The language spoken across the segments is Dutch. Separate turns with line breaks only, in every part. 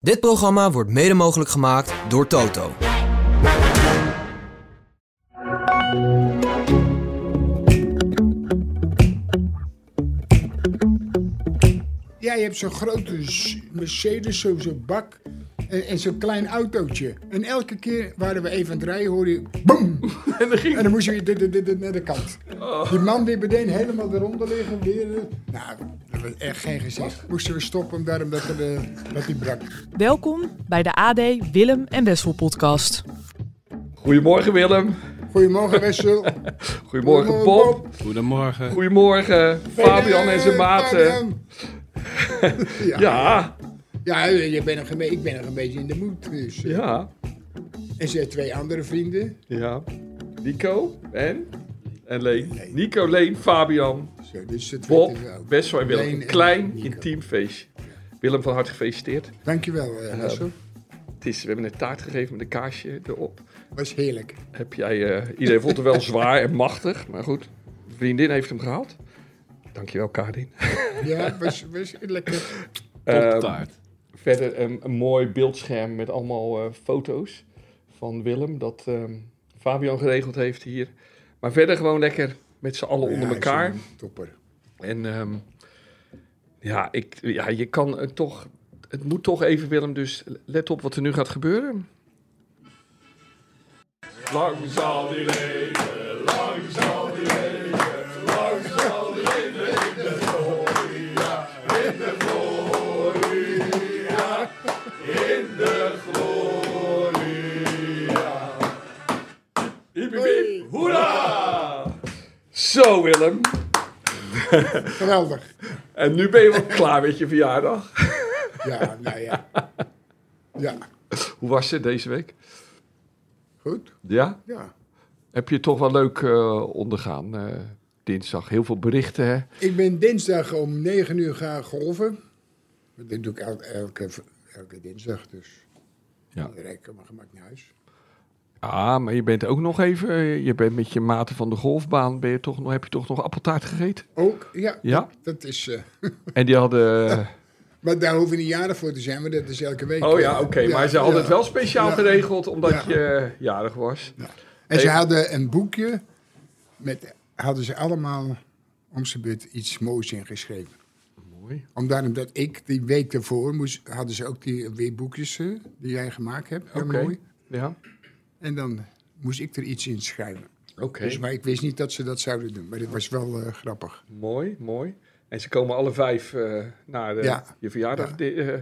Dit programma wordt mede mogelijk gemaakt door Toto.
Ja, je hebt zo'n grote s- Mercedes, zo'n zo'n bak en, en zo'n klein autootje. En elke keer waren we even aan het rijden, hoorde je boem! En dan, moest je weer dit, dit, dit, dit naar de kant.
Oh.
Die man die meteen helemaal eronder liggen, weer... eh, Nou, dat was echt geen gezicht. Moesten we stoppen, daarom dat, er, eh, dat die brak.
Welkom bij de AD Willem en Wessel podcast.
Goedemorgen Willem.
Goedemorgen, Wessel.
Goedemorgen Bob.
Goedemorgen.
Goedemorgen Fabian en zijn maten.
Fabian. ja. Ja.
Ja,
eh, je bent nog een be- ik ben nog een beetje in de moed. Dus. eh.
ja,
En zijn twee andere vrienden.
ja. Nico en? En Leen. Nico, Leen, Fabian,
Zo, dus het
Bob,
werd er ook.
best wel Willem.
Leen
Een
en
klein
Nico.
intiem feestje. Willem van harte gefeliciteerd.
Dankjewel, eh, Wessel.
Het is, we hebben een taart gegeven met een kaasje erop.
was heerlijk.
Heb jij, eh, iedereen vond het wel zwaar en machtig, maar goed. Vriendin heeft hem gehaald. Dankjewel Karin.
Ja, was, was lekker.
Eh,
Toptaart.
Verder een, een mooi beeldscherm met allemaal eh, foto's van Willem, dat ehm, Fabian geregeld heeft hier. Maar verder gewoon lekker met z'n allen onder
Ja,
elkaar.
zo'n Topper.
En ehm, ja, ik, ja, je kan het toch, het moet toch even Willem, dus let op wat er nu gaat gebeuren. Lang zal die leven, lang zal die leven, lang zal die leven in de gloria, in de gloria, in de gloria. Hiep, hiep, hiep, hoera! Zo Willem.
Geweldig.
En nu ben je wel klaar met je verjaardag.
Ja, nou ja. Ja,
Hoe was het deze week?
goed.
Ja?
Ja.
Heb je het toch wel leuk eh, ondergaan eh, dinsdag? Heel veel berichten, hè?
Ik ben dinsdag om 9 uur gaan golven. Dat doe ik el- elke, elke dinsdag, dus.
Ja.
Dan rijd ik helemaal gemakkelijk naar huis.
Ja, Ah, maar je bent ook nog even... eh, je bent met je maten van de golfbaan... Ben je toch nog, heb je toch nog appeltaart gegeten?
Ook, ja.
Ja.
Dat is, eh,
En die hadden... eh,
maar daar hoeven niet jaren voor te zijn, maar dat is elke week.
oh ja, oké.
Ja,
maar ze hadden
ja.
het wel speciaal
Ja.
geregeld... omdat
Ja.
je eh, jarig was.
En ze
Even-
hadden een boekje, met, hadden ze allemaal om zijn beurt iets moois ingeschreven.
Mooi.
Omdat omdat ik die week daarvoor moest, hadden ze ook die weer boekjes eh, die jij gemaakt hebt. Heel
Oké.
mooi.
Ja.
En dan moest ik er iets in schrijven.
Oké.
Dus, maar ik wist niet dat ze dat zouden doen. Maar dat was wel eh, grappig.
Mooi, mooi. En ze komen alle vijf eh, naar de,
Ja.
je verjaardag
Ja.
di- eh,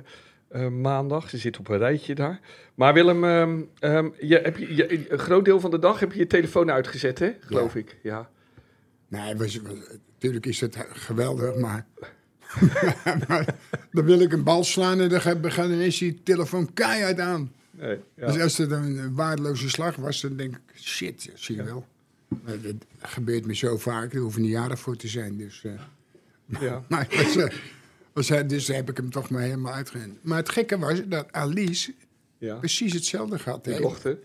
eh, maandag. Ze zitten op een rijtje daar. Maar Willem, ehm, ehm, je, heb je, je- een groot deel van de dag heb je je telefoon uitgezet, hè? geloof ik. Ja.
Nee, Nou, het was, was- natuurlijk is het eh, geweldig, maar, maar dan wil ik een bal slaan en dan ga- gaan ineens die telefoon keihard aan.
Nee, ja.
Dus als het een waardeloze slag was, dan denk ik, shit, zie je wel. Maar dat gebeurt me zo vaak, er hoeven niet jaren voor te zijn. Dus, eh,
ja.
Maar het was, eh, was hij- dus heb ik hem toch maar helemaal uitgehaald. Maar het gekke was dat Alice
ja.
precies hetzelfde gehad
Je
heeft.
dochter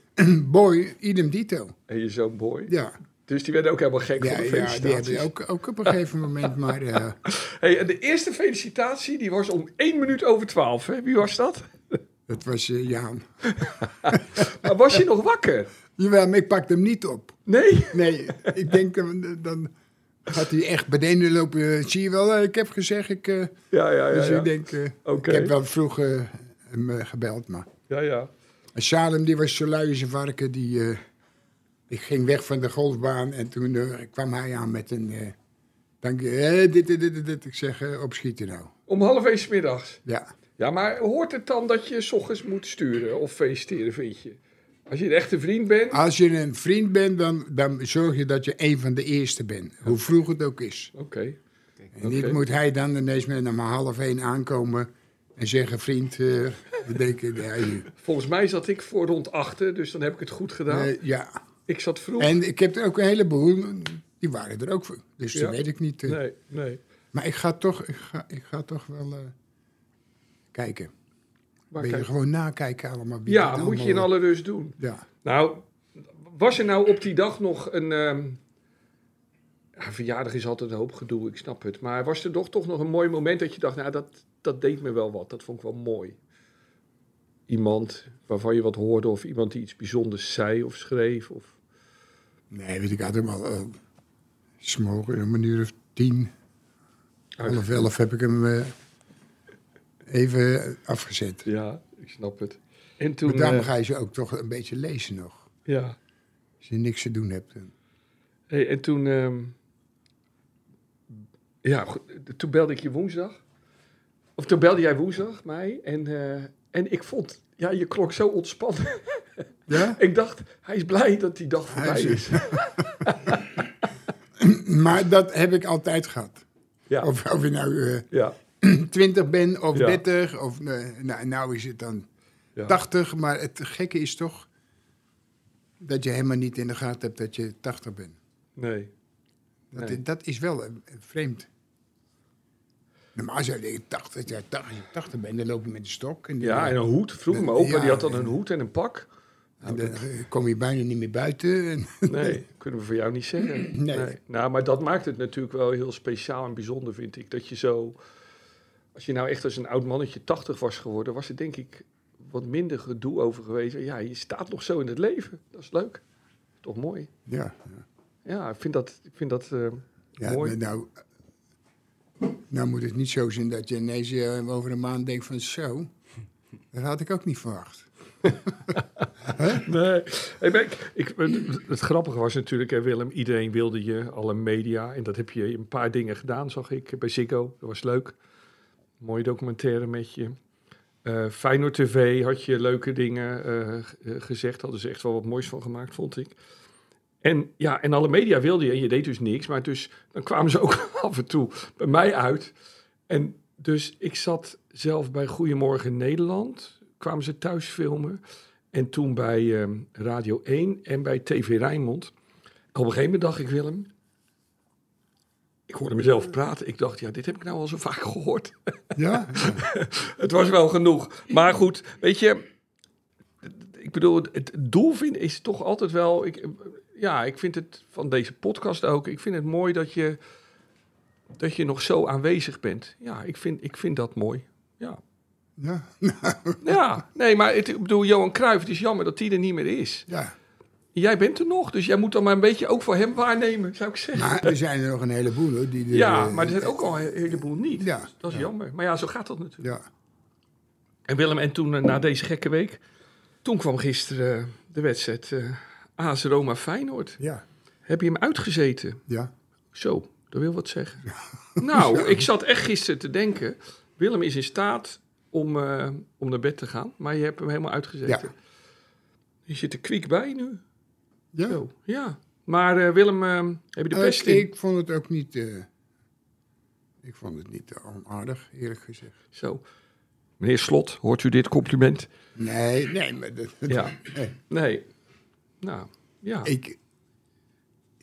Boy, idem dito.
en je zoon Boy.
Ja,
Dus die werden ook helemaal gek
ja,
van de
ja die
felicitaties.
hebben ook, ook op een gegeven moment maar... eh,
hey, en de eerste felicitatie die was om 1 minuut over 12. Hè? Wie was dat?
het was eh, Jaan.
Maar was je nog wakker?
Jawel, maar ik pakte hem niet op.
Nee?
Nee, ik denk dan... dan gaat hij echt beneden lopen. eh, Zie je wel, eh, ik heb gezegd, ik... eh,
Ja, ja, ja.
dus
ja.
ik denk... eh,
Oké.
Ik heb wel vroeg eh, hem eh, gebeld, maar...
ja, ja.
En Salem, die was zo lui als een varken. Die, eh, ik ging weg van de golfbaan en toen eh, kwam hij aan met een... eh dank je, eh, dit, dit, dit, dit, dit. Ik zeg, eh, opschieten nou.
Om half 1 middags.
Ja.
Ja, maar hoort het dan dat je 's ochtends moet sturen of feliciteren, vind je? Als je een echte vriend bent?
Als je een vriend bent, dan, dan zorg je dat je een van de eerste bent. Hoe vroeg het ook is.
Oké.
En niet
Oké.
moet hij dan ineens met om half één aankomen en zeggen... Vriend, eh we denken... Ja, je-
Volgens mij zat ik voor rond achter, dus dan heb ik het goed gedaan.
eh, ja.
Ik zat vroeg.
En ik heb er ook een heleboel... Die waren er ook voor. Dus die
Ja.
weet ik niet. eh.
Nee, nee.
Maar ik ga toch, ik ga, ik ga toch wel eh, kijken.
Maar
Ben je
kijk-
gewoon nakijken allemaal. wie
ja,
dit
moet je in
allemaal-
alle rust doen.
Ja,
Nou, was er nou op die dag nog een... ehm, ja, verjaardag is altijd een hoop gedoe, ik snap het. Maar was er toch, toch nog een mooi moment dat je dacht... Nou, dat, dat deed me wel wat. Dat vond ik wel mooi. iemand waarvan je wat hoorde of iemand die iets bijzonders zei of schreef? Of...
Nee, weet ik, had hem al eh, smoren, om een uur of tien, half elf heb ik hem eh, even afgezet.
Ja, ik snap het. En toen...
Maar daarom
eh,
ga je ze ook toch een beetje lezen nog.
ja.
Als je niks te doen hebt.
Hey, en toen... ehm, ja, go- toen belde ik je woensdag. Of toen belde jij woensdag mij. En, eh, en ik vond... Ja, je klonk zo ontspannen.
Ja?
ik dacht, hij is blij dat die dag
Hij
voorbij
is-
is.
Maar dat heb ik altijd gehad.
Ja.
Of, of je nou
Ja,
twintig bent of
Ja.
dertig. Of, eh, nou, nou is het dan
ja.
80, maar het gekke is toch dat je helemaal niet in de gaten hebt dat je 80 bent.
Nee.
Dat,
Nee.
dat is wel eh, vreemd. Normaal zou je denken, 80, ja, 80, als je 80 bent, dan loop je met de stok. En dan, eh,
Ja, en een hoed. Vroeger mijn opa, die had dan een hoed en een pak.
en dan eh, kom je bijna niet meer buiten. En,
Nee, kunnen we voor jou niet zeggen.
Nee.
Nou, maar dat maakt het natuurlijk wel heel speciaal en bijzonder, vind ik. Dat je zo... Als je nou echt als een oud mannetje 80 was geworden... was er denk ik wat minder gedoe over geweest. Ja, je staat nog zo in het leven. Dat is leuk. Toch mooi.
ja,
Ja, ik vind dat... Ik vind dat eh,
ja
Mooi.
maar nou, nou moet het niet zo zijn dat je ineens eh, over een maand denkt van zo, dat had ik ook niet verwacht.
Nee. Hey, maar ik, ik- het, het grappige was natuurlijk, hè, Willem, iedereen wilde je, alle media. En dat heb je een paar dingen gedaan, zag ik, bij Ziggo. Dat was leuk. Mooie documentaire met je. Eh Feyenoord TV had je leuke dingen eh, g- eh, gezegd. Hadden ze echt wel wat moois van gemaakt, vond ik. En, ja, en alle media wilden je en je deed dus niks. Maar dus, dan kwamen ze ook af en toe bij mij uit. En dus ik zat zelf bij Goedemorgen Nederland. Kwamen ze thuis filmen. En toen bij ehm, Radio 1 en bij TV Rijnmond. Op een gegeven moment dacht ik, Willem... Ik hoorde mezelf praten. Ik dacht, ja, dit heb ik nou al zo vaak gehoord.
Ja,
Het was wel genoeg. Maar goed, weet je... Ik bedoel, het- het doel vind is toch altijd wel... Ik, ja, ik vind het van deze podcast ook... Ik vind het mooi dat je, dat je nog zo aanwezig bent. Ja, ik vind, ik vind dat mooi. Ja.
ja,
ja, nee, maar het, ik bedoel, Johan Cruijff, het is jammer dat die er niet meer is.
ja.
Jij bent er nog, dus jij moet dan maar een beetje ook voor hem waarnemen, zou ik zeggen.
Maar er zijn er nog een heleboel hoor. Die er,
ja,
eh,
maar er zijn ook al een heleboel niet.
Ja.
Dus dat is jammer. Maar ja, zo gaat dat natuurlijk.
Ja,
En Willem, en toen eh, na deze gekke week, toen kwam gisteren eh, de wedstrijd eh AS Roma Feyenoord.
ja,
Heb je hem uitgezeten?
ja.
Zo, dat wil wat zeggen. Nou, ik zat echt gisteren te denken, Willem is in staat om, eh, om naar bed te gaan, maar je hebt hem helemaal uitgezeten. Je zit er kwiek bij nu.
ja.
Zo, ja. Maar eh, Willem, eh, heb je de
Eh,
pest in?
ik vond het ook niet. eh, ik vond het niet onaardig, eerlijk gezegd.
Zo. Meneer Slot, hoort u dit compliment?
Nee, nee, maar dat,
Ja.
nee.
Nee. Nou, ja.
Ik,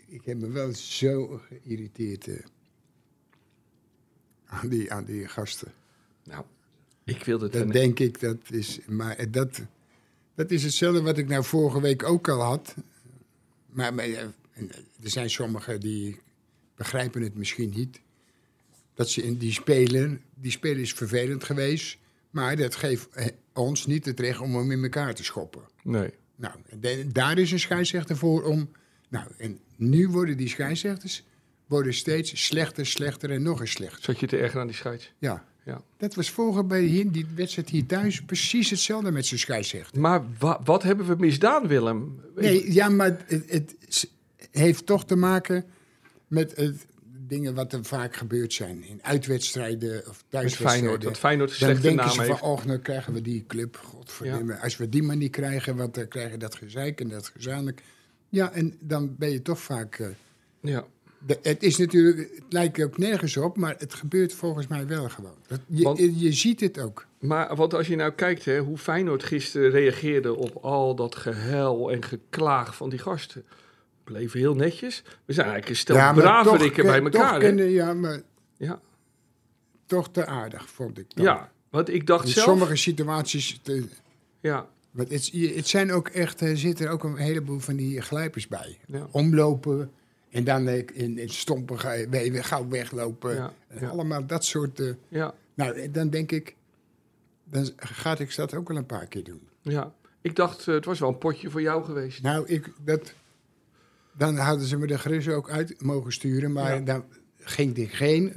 ik heb me wel zo geïrriteerd eh, aan, die, aan die gasten.
Nou, ik wilde het...
Dat
een-
denk ik, dat is. Maar eh, dat, dat is hetzelfde wat ik nou vorige week ook al had. Maar, maar, eh, er zijn sommigen die begrijpen het misschien niet. Dat ze in die spelen. Die spelen is vervelend geweest. Maar dat geeft eh, ons niet het recht om hem in elkaar te schoppen.
Nee.
Nou, de- daar is een scheidsrechter voor om. Nou, en nu worden die scheidsrechters worden steeds slechter, slechter en nog eens slechter.
Zat je te erger aan die scheids?
Ja.
Ja.
Dat was vorige bij hier, die wedstrijd hier thuis precies hetzelfde met zijn scheidsrechter.
Maar wa- wat hebben we misdaan, Willem?
Nee, ja, maar het, het s- heeft toch te maken met het, dingen wat er vaak gebeurd zijn. In uitwedstrijden of
Met
thuiswedstrijden.
Feyenoord. Dat Feyenoord een
Dan
slechte
denken
naam
ze
heeft.
van, oh, nou krijgen we die club. Godverdomme. Als we die maar niet krijgen, want dan krijgen we dat gezeik en dat gezamenlijk. Ja, en dan ben je toch vaak... eh,
Ja.
de- het is natuurlijk, het lijkt ook nergens op, maar het gebeurt volgens mij wel gewoon. Dat- je,
Want-
je ziet het ook.
Maar want als je nou kijkt hè, hoe Feyenoord gisteren reageerde op al dat gehuil en geklaag van die gasten. Bleven heel netjes. We zijn eigenlijk een stel
Ja, maar
braverikken
toch-
bij
toch
elkaar. hè?
kunnen- ja, maar
ja.
toch te aardig, vond ik. dan.
ja, want ik dacht
In
zelf...
sommige situaties. te-
Ja,
want het, is- het zijn ook echt, er zitten ook een heleboel van die glijpers bij.
Ja.
Omlopen en dan eh, in, in stompen ga je- ben je weer gauw weglopen.
Ja,
En
ja.
Allemaal dat soort. eh,
ja.
nou, eh, dan denk ik. dan ga ik dat ook wel een paar keer doen.
Ja. Ik dacht, eh, het was wel een potje voor jou geweest.
Nou, ik, dat, dan hadden ze me de gris ook uit mogen sturen, maar
Ja.
dan ging er geen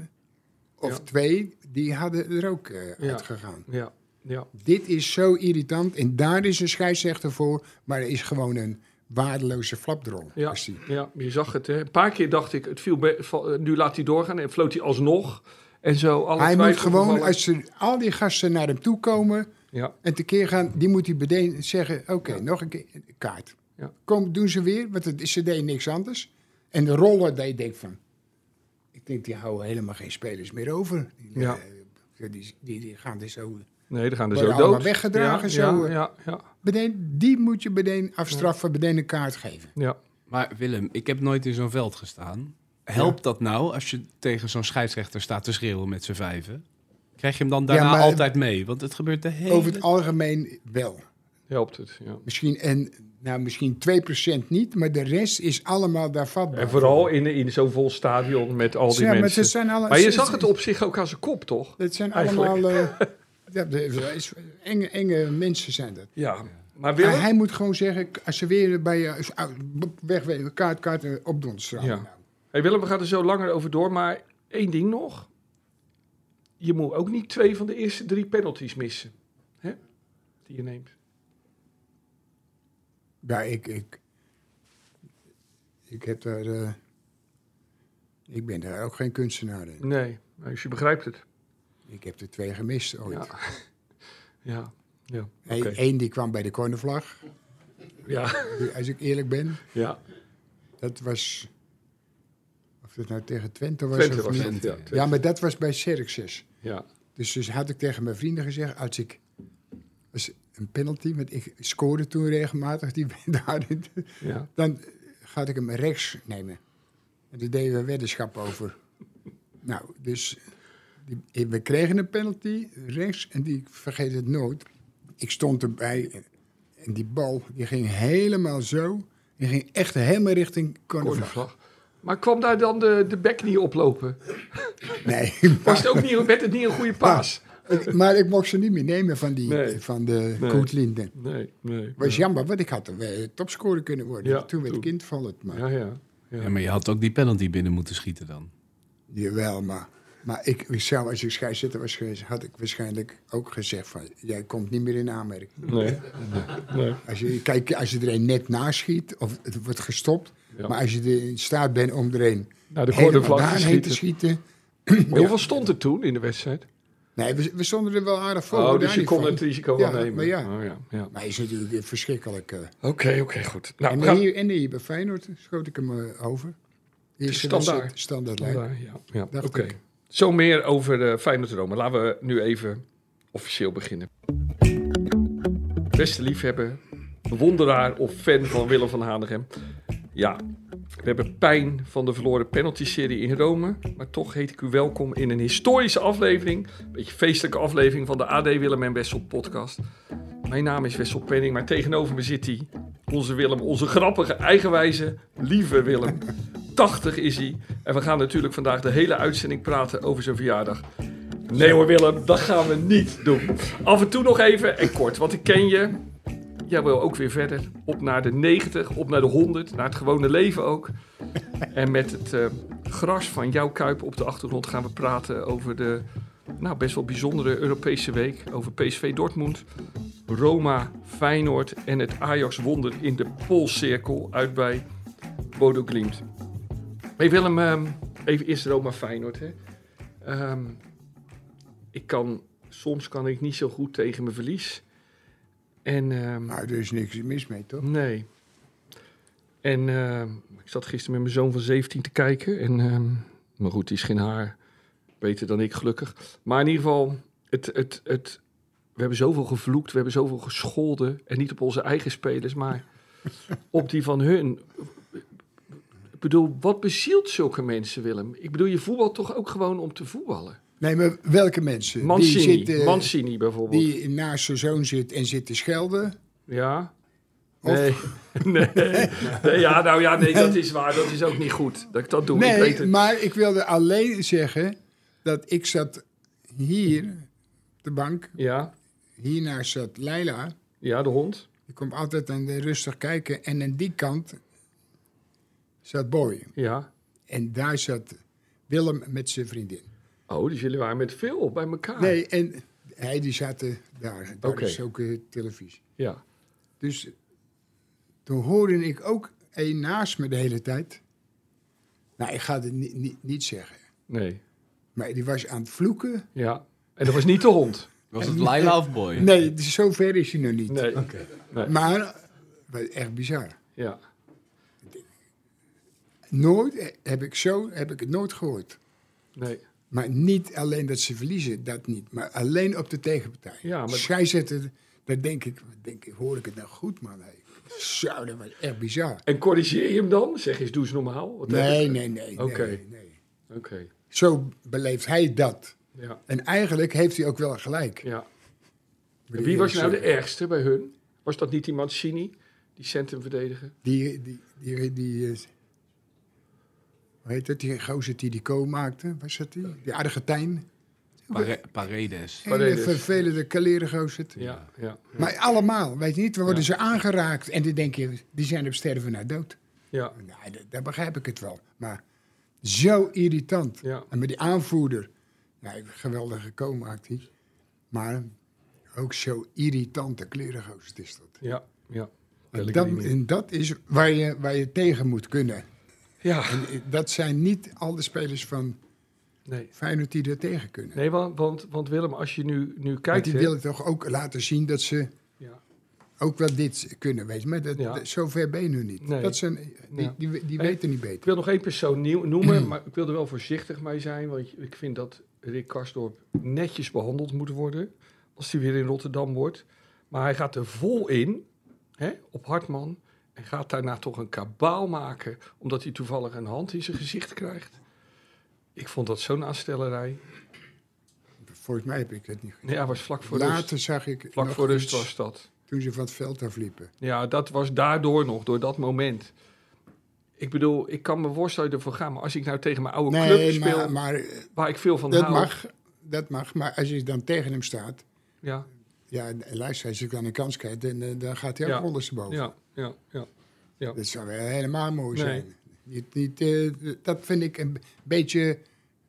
of
Ja.
twee, die hadden er ook eh
Ja.
uitgegaan.
Ja, ja,
Dit is zo irritant en daar is een scheidsrechter voor, maar er is gewoon een waardeloze flapdrol.
ja,
is die.
ja, je zag het. Hè. Een paar keer dacht ik, het viel be- val- eh, nu laat hij doorgaan en floot hij alsnog. En zo, alle
Hij moet
twijfel
gewoon,
gevallen.
als ze, al die gasten naar hem toe komen
Ja,
en tekeer gaan, die moet hij meteen zeggen, oké,
Ja.
nog een keer, kaart.
Ja.
Kom, doen ze weer, want het, ze deden niks anders. En de roller deed ik van, ik denk, die houden helemaal geen spelers meer over. Die,
Ja.
eh, die, die, die gaan dus zo...
nee, die gaan er
Worden
zo
allemaal
dood.
weggedragen,
ja,
zo,
Ja,
eh.
ja, ja,
Meteen, die moet je meteen afstraffen, meteen een kaart geven.
ja.
Maar Willem, ik heb nooit in zo'n veld gestaan. Helpt dat nou als je tegen zo'n scheidsrechter staat te schreeuwen met z'n vijven? Krijg je hem dan daarna
Ja, maar-
altijd mee? Want het gebeurt de hele...
Over het algemeen wel.
helpt het. Ja.
Misschien, en, nou, misschien 2% niet, maar de rest is allemaal daar vatbaar.
En
voor.
vooral in, in zo'n vol stadion met al die
ja, maar,
mensen.
het zijn alle,
Maar je zag het op zich ook aan zijn kop, toch?
Het zijn
Eigenlijk.
allemaal eh, ja, de- de- is- enge, enge mensen zijn dat.
Ja. Maar
Maar
Willem?
hij moet gewoon zeggen, als ze weer bij je is- au, boep, wegwezen, kaart, kaart, eh, op Donderstraat.
Ja. Hey Willem, we gaan er zo langer over door. Maar één ding nog. Je moet ook niet twee van de eerste drie penalties missen. Hè? Die je neemt.
Ja, ik, ik, ik heb daar, eh, ik ben daar ook geen kunstenaar in.
Nee, dus je begrijpt het.
Ik heb er twee gemist ooit.
Ja. Ja. Ja.
Eén
Oké.
één die kwam bij de cornervlag,
Ja.
als ik eerlijk ben.
ja.
Dat was, of dat nou tegen Twente was
Twente
of
was
niet.
het. Ja.
Ja, maar dat was bij Xerxes.
ja.
Dus, dus had ik tegen mijn vrienden gezegd, als ik als een penalty, want ik scoorde toen regelmatig, die daar,
ja.
dan ga ik hem rechts nemen. En daar deden we weddenschap over. Nou, dus die, we kregen een penalty rechts en die ik vergeet het nooit. Ik stond erbij en die bal die ging helemaal zo. Die ging echt helemaal richting cornervlag.
Cornervlag. Maar kwam daar dan de, de bek niet oplopen?
Nee,
Was het ook niet, werd het niet een goede paas?
maar, maar ik mocht ze niet meer nemen van, die,
Nee.
van de
Nee.
Koetlinden.
Nee, nee.
was jammer, want ik had er eh, topscorer kunnen worden.
Ja,
toen werd
toen.
kind van het. Maar,
Ja, ja.
Ja, maar je had ook die penalty binnen moeten schieten dan.
Jawel, maar, maar ik, ik zou, als ik scheidsrechter was geweest, had ik waarschijnlijk ook gezegd van... jij komt niet meer in aanmerking.
Nee. nee.
Als je, kijk, als je er een net naschiet of het wordt gestopt...
Ja.
maar als je er in staat bent om er een
Naar Nou, de
helemaal
cornervlag te
daarheen te
schieten.
schieten...
Maar Hoeveel stond er toen in de wedstrijd?
Nee, we, we stonden er wel aardig voor.
Oh,
daar
dus je
niet
kon
van.
het risico
Ja,
wel nemen.
maar ja.
Oh, ja, ja.
Maar hij is natuurlijk eh, verschrikkelijk. eh.
Oké, oké, goed. Nou, we
en,
gaan
hier, en hier bij Feyenoord schoot ik hem eh, over. Eerste
Standaard.
wedstrijd, Standaard lijn.
Vandaar, ja. ja. Oké.
Dacht ik.
Zo meer over eh Feyenoord Rome. Laten we nu even officieel beginnen. Beste liefhebber, bewonderaar of fan van Willem van Hanegem. Ja, we hebben pijn van de verloren penalty-serie in Rome. Maar toch heet ik u welkom in een historische aflevering. Een beetje feestelijke aflevering van de AD Willem en Wessel podcast. Mijn naam is Wessel Penning, maar tegenover me zit hij. Onze Willem, onze grappige, eigenwijze, lieve Willem. 80 is hij. En we gaan natuurlijk vandaag de hele uitzending praten over zijn verjaardag. Nee hoor Willem, dat gaan we niet doen. Af en toe nog even en kort, want ik ken je. Jij wil ook weer verder. Op naar de 90, op naar de 100, naar het gewone leven ook. En met het eh, gras van jouw kuip op de achtergrond gaan we praten over de nou, best wel bijzondere Europese week. Over PSV Dortmund, Roma, Feyenoord en het Ajax-wonder in de Poolcirkel uit bij Bodo Glimt. Hey Willem, ehm, even eerst Roma Feyenoord. Hè. Ehm, ik kan, soms kan ik niet zo goed tegen mijn verlies. En, ehm,
Nou, er is niks mis mee, toch?
Nee. En ehm, ik zat gisteren met mijn zoon van 17 te kijken. En, ehm, maar goed, die is geen haar beter dan ik, gelukkig. Maar in ieder geval, het, het, het, we hebben zoveel gevloekt, we hebben zoveel gescholden. En niet op onze eigen spelers, maar op die van hun. Ik bedoel, wat bezielt zulke mensen, Willem? Ik bedoel, je voetbalt toch ook gewoon om te voetballen?
Nee, maar welke mensen?
Mancini,
Die, zit, eh,
Mancini bijvoorbeeld.
die naast zijn zoon zit en zit te schelden.
Ja.
Of-
Nee. nee. Nee, Ja, nou ja, nee, dat is waar. Dat is ook niet goed. Dat ik dat doe. ik weet
nee,
het.
maar ik wilde alleen zeggen dat ik zat hier op de bank
Ja,
hiernaast zat Leila.
Ja, de hond.
Die komt altijd aan de rustig kijken. En aan die kant zat Boy.
Ja.
En daar zat Willem met zijn vriendin.
Oh, dus jullie waren met veel bij elkaar.
Nee, en hij die zaten daar. Daar
Ah. Oké.
is ook eh, televisie.
Ja.
Dus toen hoorde ik ook een naast me de hele tijd. Nou, ik ga het ni- ni- niet zeggen.
Nee.
Maar die was aan het vloeken.
Ja. En dat was niet de hond.
Was het Laila of Boy?
Nee, dus zover is hij nog niet.
Nee.
Maar, eh, echt bizar.
Ja.
Nooit eh, heb ik zo, heb ik het nooit gehoord.
Nee.
Maar niet alleen dat ze verliezen, dat niet. Maar alleen op de tegenpartij.
Ja, maar-
Scheidsrechter, daar denk ik, wat denk ik, hoor ik het nou goed, man. Hey. Zo, dat was echt bizar.
En corrigeer je hem dan? Zeg eens, doe eens normaal. Wat
Nee,
heb je?
nee, nee.
Oké.
nee, nee.
Oké.
Zo beleeft hij dat.
Ja.
En eigenlijk heeft hij ook wel gelijk.
ja. En wie was nou de ergste bij hun? Was dat niet die Mancini? Die centrumverdediger?
Die, die, die, die, eh, hoe heet dat? Die gozer die die co maakte. Was dat die? Die Argentijn.
Pare- Paredes.
Hele
Paredes.
vervelende kalere gozer.
Ja. Ja.
Maar allemaal, weet je niet, we worden ze aangeraakt. En dan denk je, die zijn op sterven na dood.
Ja.
Nou, dat- daar begrijp ik het wel. Maar zo irritant.
Ja.
En met die aanvoerder. Nou, geweldige co-actie. Maar ook zo irritante klerengozer is dat.
Ja. ja.
En dat, en dat is waar je, waar je tegen moet kunnen.
Ja.
En eh, dat zijn niet al de spelers van
Nee.
Feyenoord die er tegen kunnen.
Nee, want, want, want Willem, als je nu, nu
Want
kijkt...
die
hè-
willen toch ook laten zien dat ze
Ja.
ook wel dit kunnen, weet je. Maar dat,
Ja.
dat- zover ben je nu niet.
Nee.
Dat zijn, eh, die,
Ja.
die, die
Hey.
weten niet
Ik
beter.
wil nog één persoon nieuw noemen, maar ik wil er wel voorzichtig mee zijn. Want ik vind dat Rick Karsdorp netjes behandeld moet worden. Als hij weer in Rotterdam wordt. Maar hij gaat er vol in, hè, op Hartman. En gaat daarna toch een kabaal maken. Omdat hij toevallig een hand in zijn gezicht krijgt. Ik vond dat zo'n aanstellerij.
Volgens mij heb ik het niet.
Nee, hij was vlak voor rust.
Later zag ik
Vlak
nog
voor rust
iets
was dat.
toen ze van het veld afliepen.
Ja, dat was daardoor nog, door dat moment. Ik bedoel, ik kan me voorstellen ervoor gaan. Maar als ik nou tegen mijn oude club
Nee,
speel,
maar, maar eh,
waar ik veel van
dat
hou...
mag. Dat mag. Maar als je dan tegen hem staat...
Ja,
Ja, en luister, als je dan een kans krijgt, dan, eh, dan gaat hij ook
Ja.
ondersteboven.
ja, ja, ja.
Dat zou wel helemaal mooi
Nee.
zijn. Niet, niet, eh, dat vind ik een beetje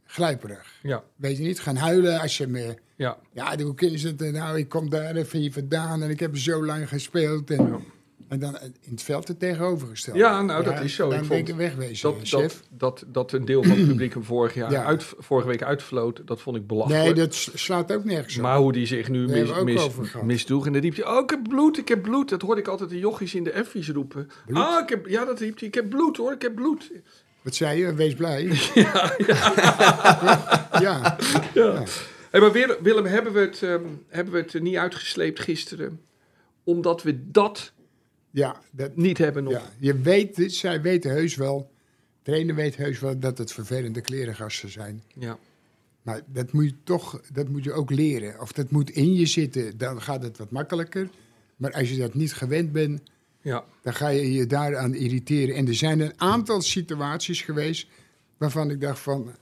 gluiperig.
Ja,
Weet je niet, gaan huilen als je me...
ja,
Ja, hoe kunnen ze dat nou? Ik kom daar even hier vandaan en ik heb zo lang gespeeld. En,
Ja.
en dan eh, in het veld het tegenovergestelde.
Ja, nou, dat is zo.
Dan
Ik
ben ik
vond
er wegwezen,
dat,
chef.
dat, dat, dat een deel van het publiek hem vorig jaar
Ja.
uit, vorige week uitvloot, dat vond ik belachelijk.
nee, dat s- slaat ook nergens op.
Maar hoe die zich nu
Daar hebben we
mis,
ook
mis,
over gehad.
misdroeg. En dan riep hij, oh, ik heb bloed, ik heb bloed. Dat hoorde ik altijd de jochies in de F's roepen. Ah, ik heb, ja, dat riep hij, ik heb bloed hoor, ik heb bloed.
Wat zei je? Wees blij. Ja. ja.
Hey, maar Wil- Willem, hebben we, het, ehm, hebben we het er niet uitgesleept gisteren? Omdat we dat
Ja, dat,
niet hebben nog.
ja. Je weet, het, zij weten heus wel, de trainer weet heus wel dat het vervelende klerengasten zijn.
Ja.
Maar dat moet je toch, dat moet je ook leren. Of dat moet in je zitten, dan gaat het wat makkelijker. Maar als je dat niet gewend bent,
ja.
Dan ga je je daaraan irriteren. En er zijn een aantal situaties geweest waarvan ik dacht van...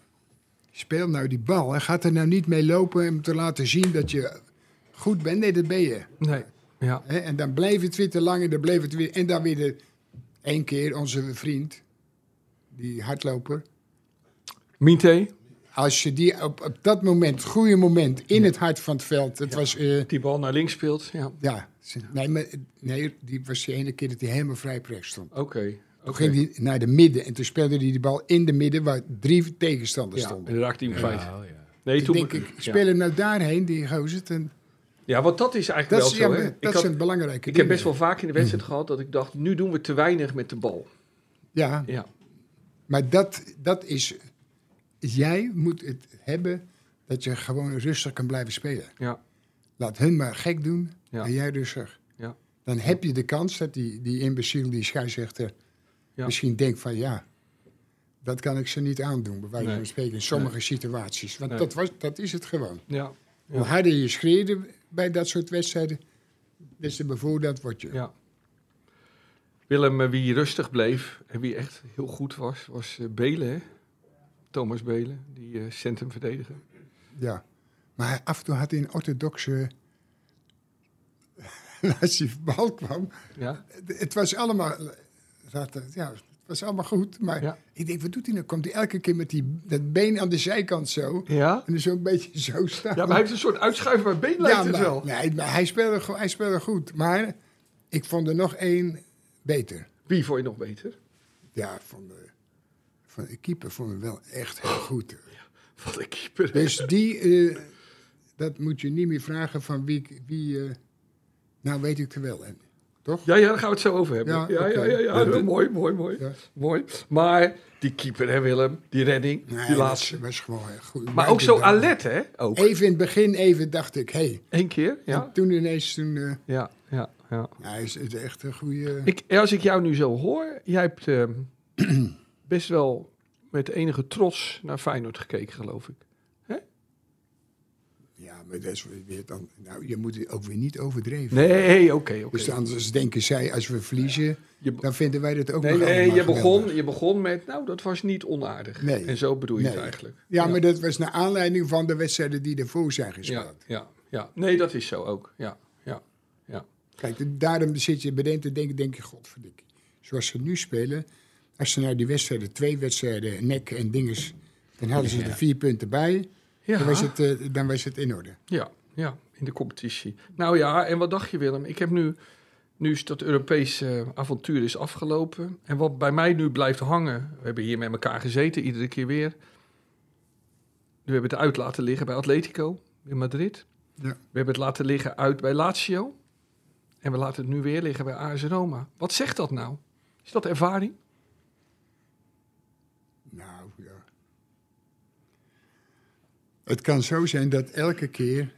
speel nou die bal en gaat er nou niet mee lopen om te laten zien dat je goed bent. Nee, dat ben je.
Nee. Ja.
Hè, En dan bleef het weer te lang en dan bleef het weer... En dan weer de, één keer onze vriend, die hardloper...
Minte,
Als je die op, op dat moment, het goede moment, in het hart van het veld... Het was... eh,
die bal naar links speelt. Ja. Oké.
ja, nee, maar, nee, die was de ene keer dat hij helemaal vrij plek stond.
oké.
Toen ging hij naar de midden en toen speelde hij de bal in de midden waar drie tegenstanders
Ja, en
stonden.
dan raakte hij hem kwijt.
Ja, oh ja.
Nee,
Toen
toen
denk ik, speel hem nou daarheen, die gozer. En
Ja. ja, want dat is eigenlijk
dat is,
wel zo.
ja,
hè.
dat
ik, had-
zijn belangrijke
ik heb
dingen.
best wel vaak in de wedstrijd gehad dat ik dacht, nu doen we te weinig met de bal.
Ja,
Ja,
maar dat, dat is... Jij moet het hebben dat je gewoon rustig kan blijven spelen.
ja,
Laat hun maar gek doen
Ja.
en jij rustig.
Ja.
Dan heb je de kans dat die, die imbeciel, die scheidsrechter...
Ja.
misschien denkt van ja, dat kan ik ze niet aandoen... bij wijze
Nee.
van spreken in sommige situaties. Want
Nee.
dat, was, dat is het gewoon.
ja, Ja.
Hoe harder je schreeuwde bij dat soort wedstrijden, des te bevoordeeld word je.
ja. Willem, eh, wie rustig bleef en wie echt heel goed was, was eh, Belen. hè? Thomas Belen, die eh centrumverdediger.
Ja. Maar hij- af en toe had hij een orthodoxe als die bal kwam,
Ja?
het was allemaal, zat er- ja, het was allemaal goed. Maar
Ja.
ik denk, wat doet hij nou? Komt hij elke keer met die, dat been aan de zijkant zo.
Ja?
En dus zo'n beetje zo staan.
Ja, maar hij heeft een soort uitschuiverbaar been, lijkt
Ja,
het
maar-
wel.
Nee, maar hij speelde, go- hij speelde goed. Maar ik vond er nog één beter.
Wie vond je nog beter?
Ja, van de, van de keeper vond ik wel echt heel goed.
Wat een keeper.
Dus die, eh, dat moet je niet meer vragen van wie... wie eh, nou weet ik er wel. En, toch?
Ja, ja, daar gaan we het zo over hebben. Ja,
Ja,
ja, ja,
oké.
ja,
Ja,
dat-
dat-
mooi, mooi, mooi,
Ja.
mooi. Maar die keeper, hè Willem, die redding,
Nee,
die
dat
laatste.
was gewoon heel goed.
Maar ook zo
Buitendoor.
alert, hè? Ook.
Even in het begin even dacht ik, hé. Hey.
Eén keer, ja.
En toen ineens, toen, eh,
Ja, ja, ja.
hij is het echt een goede...
Ik, als ik jou nu zo hoor, jij hebt ehm, best wel met enige trots naar Feyenoord gekeken, geloof ik.
Ja, maar dat is weer dan... Nou, je moet het ook weer niet overdreven.
Nee, oké, oké.
Dus anders denken zij, als we verliezen,
Je be-
dan vinden wij dat ook
Nee,
nog
nee
allemaal
je,
geweldig.
begon, je begon met, nou, dat was niet onaardig.
Nee.
En zo bedoel je het
Nee.
eigenlijk.
Ja, maar dat was naar aanleiding van de wedstrijden die ervoor zijn gespeeld.
Ja, ja, ja. Nee, dat is zo ook. Ja, ja, ja.
Kijk, daarom zit je beneden te denken, denk je, godverdikkie. Zoals ze nu spelen, als ze nou die wedstrijden, twee wedstrijden, nek en dinges, dan hadden ze er vier punten bij.
ja.
Dan, was het, eh, dan was het in orde.
Ja, ja, in de competitie. Nou ja, en wat dacht je Willem? Ik heb nu, nu is dat Europese avontuur is afgelopen. En wat bij mij nu blijft hangen, we hebben hier met elkaar gezeten, iedere keer weer. We hebben het uit laten liggen bij Atletico in Madrid.
Ja.
We hebben het laten liggen uit bij Lazio. En we laten het nu weer liggen bij AS Roma. Wat zegt dat nou? Is dat ervaring?
Nou, ja. Het kan zo zijn dat elke keer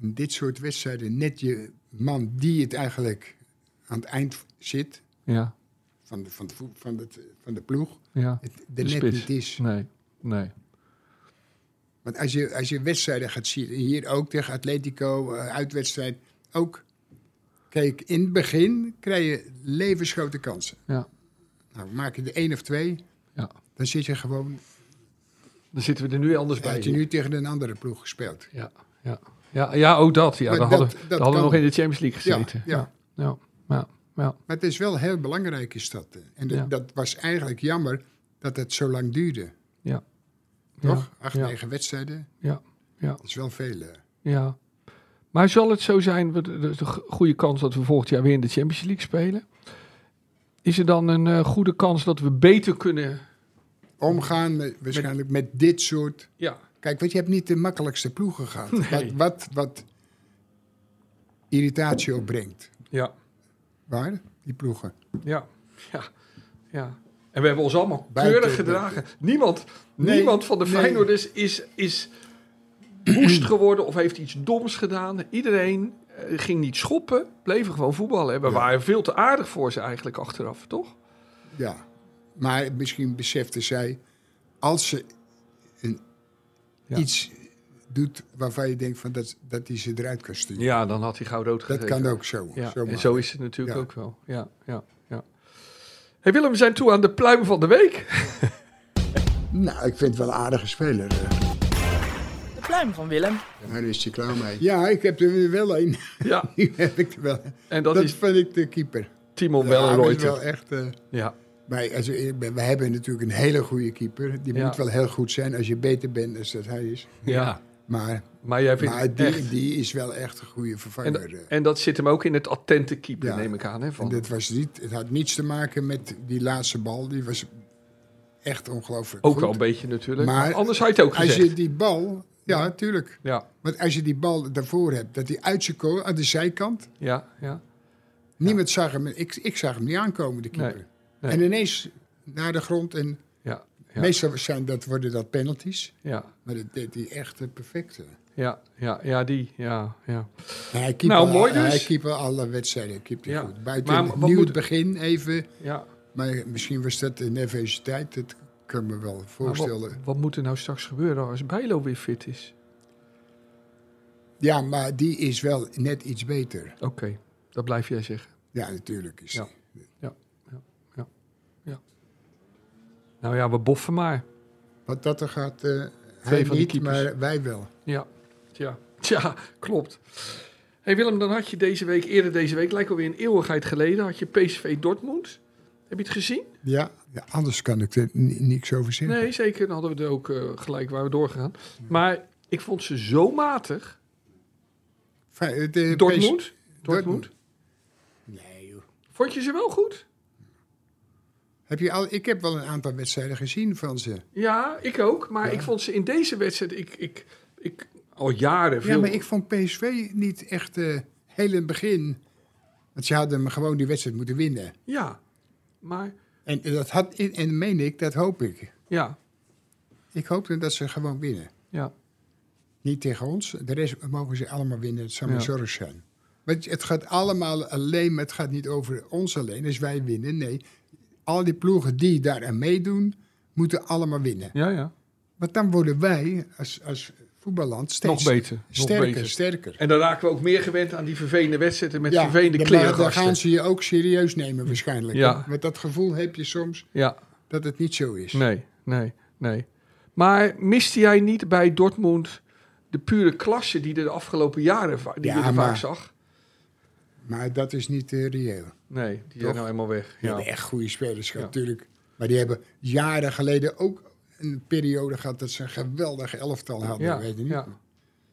in dit soort wedstrijden net je man die het eigenlijk aan het eind zit
Ja,
van de, van de, vo- van het, van de ploeg,
ja.
het er net niet is.
Nee, nee.
Want als je, als je wedstrijden gaat zien, hier ook tegen Atletico, eh, uitwedstrijd, ook. Kijk, in het begin krijg je levensgrote kansen.
Ja.
Nou, maak je er één of twee,
Ja.
dan zit je gewoon,
Dan zitten we er nu anders bij.
had je nu tegen een andere ploeg gespeeld.
Ja, ja. Ja, ja, ook dat. Ja,
Maar
dan
dat-
hadden, dan
dat
hadden we
kan.
nog in de Champions League
Ja,
gezeten.
ja.
ja, ja, ja.
Maar het is wel heel belangrijk, is dat. eh. En dat,
Ja.
dat was eigenlijk jammer dat het zo lang duurde.
Ja.
Toch? Acht,
ja.
negen wedstrijden,
Ja, ja,
dat is wel veel. eh.
ja. Maar zal het zo zijn, want er is een go- goede kans dat we volgend jaar weer in de Champions League spelen? Is er dan een eh, goede kans dat we beter kunnen...
Omgaan met- waarschijnlijk met dit soort
Ja,
Kijk, want je hebt niet de makkelijkste ploegen gehad. Wat,
Nee.
wat, wat irritatie opbrengt.
ja,
Waar? Die ploegen.
ja, ja, ja. En we hebben ons allemaal
Buiten-
keurig gedragen. Niemand,
Nee,
niemand van de
nee.
Feyenoorders is, is woest geworden of heeft iets doms gedaan. Iedereen eh, ging niet schoppen, bleven gewoon voetballen. We
Ja.
waren veel te aardig voor ze eigenlijk achteraf, toch?
Ja. Maar misschien besefte zij, als ze een,
Ja.
iets doet waarvan je denkt van dat, dat die ze eruit kan sturen.
Ja, dan had hij gauw rood
dat kan ook zo.
Ja,
zo
en
maar.
zo is het natuurlijk
Ja.
ook wel. Ja, ja, ja. Hey Willem, we zijn toe aan de pluim van de week.
Nou, ik vind het wel een aardige speler. eh.
De pluim van Willem.
Daar is hij klaar mee. Ja, ik heb er wel een.
Ja,
Die heb ik er wel.
en dat,
Dat,
is
vind ik de keeper.
Timon
Ja, dat is
Wellenrooyter.
wel echt... eh,
Ja,
Maar als we, eh, we hebben natuurlijk een hele goede keeper. Die
Ja.
moet wel heel goed zijn als je beter bent dan dat hij is.
ja.
Maar,
Maar jij vindt
maar
het
die,
echt-
die is wel echt een goede vervanger. eh.
En, en dat zit hem ook in het attente keeper,
Ja.
neem ik aan. Hè,
En
van.
dit was niet, het had niets te maken met die laatste bal. Die was echt ongelooflijk
ook
goed.
wel een beetje natuurlijk.
Maar
Maar Anders had je het ook
Als
gezegd.
je die bal... Ja, tuurlijk.
Ja,
Want als je die bal daarvoor hebt, dat die uit zijn kool, aan de zijkant...
ja, ja.
Niemand zag hem. Ik, ik zag hem niet aankomen, de keeper.
Nee, nee.
En ineens naar de grond. En
Ja, ja.
meestal zijn dat, worden dat penalties.
ja,
Maar dat deed hij echt eh, perfect. eh.
ja, ja, ja, die, ja, ja.
Hij keept
Nou,
al-
mooi dus.
Hij keept al alle wedstrijden keept hij
Ja.
goed. Buiten
Maar
het
wat
nieuw
moet-
begin even.
ja.
Maar misschien was dat de nervositeit. Dat kan ik me wel
Maar
voorstellen.
wat, wat moet er nou straks gebeuren als Bijlo weer fit is?
Ja, maar die is wel net iets beter.
Oké, dat blijf jij zeggen.
Ja, natuurlijk is
Ja.
die.
Nou ja, we boffen maar.
Want dat er gaat... eh
Twee
hij
van die
niet,
keepers.
maar wij wel.
Ja, tja, tja, klopt. hey Willem, dan had je deze week, eerder deze week, lijkt alweer een eeuwigheid geleden, had je PSV Dortmund. Heb je het gezien?
Ja, ja, anders kan ik er ni- niks over zeggen.
Nee, zeker. Dan hadden we er ook eh, gelijk waar we doorgaan. Maar ik vond ze zo matig.
Fijn, het, eh, PS
Dortmund? Dortmund.
Dortmund. Nee, joh.
Vond je ze wel goed?
Heb je al, ik heb wel een aantal wedstrijden gezien van ze.
Ja, ik ook. Maar
Ja.
ik vond ze in deze wedstrijd, ik, ik, ik, al jaren veel...
Ja, maar ik vond PSV niet echt eh heel in het begin. Want ze hadden hem gewoon die wedstrijd moeten winnen.
Ja, maar
En dat had, en dat meen ik, dat hoop ik.
ja,
Ik hoopte dat ze gewoon winnen.
ja.
Niet tegen ons. De rest mogen ze allemaal winnen. Het zou
Ja.
maar zorg zijn. Want het gaat allemaal alleen, maar het gaat niet over ons alleen. Als wij winnen, nee. Al die ploegen die daar aan meedoen, moeten allemaal winnen.
Ja, ja.
Want dan worden wij als, als voetballand steeds
nog beter. nog
sterker,
beter.
sterker.
En dan raken we ook meer gewend aan die vervelende wedstrijden met
Ja,
vervelende
dan- Dan
klerengasten.
gaan ze je ook serieus nemen waarschijnlijk.
Ja.
Want dat gevoel heb je soms
Ja,
dat het niet zo is.
nee, nee, nee. Maar miste jij niet bij Dortmund de pure klasse die er de afgelopen jaren va- die
Ja,
je er vaak
maar-
zag?
Maar dat is niet eh, reëel.
Nee, die
Toch?
zijn nou helemaal weg.
Ja.
Ja.
de echt goede spelers gehad,
Ja.
natuurlijk. Maar die hebben jaren geleden ook een periode gehad dat ze een geweldige elftal hadden.
ja,
weet je niet.
ja,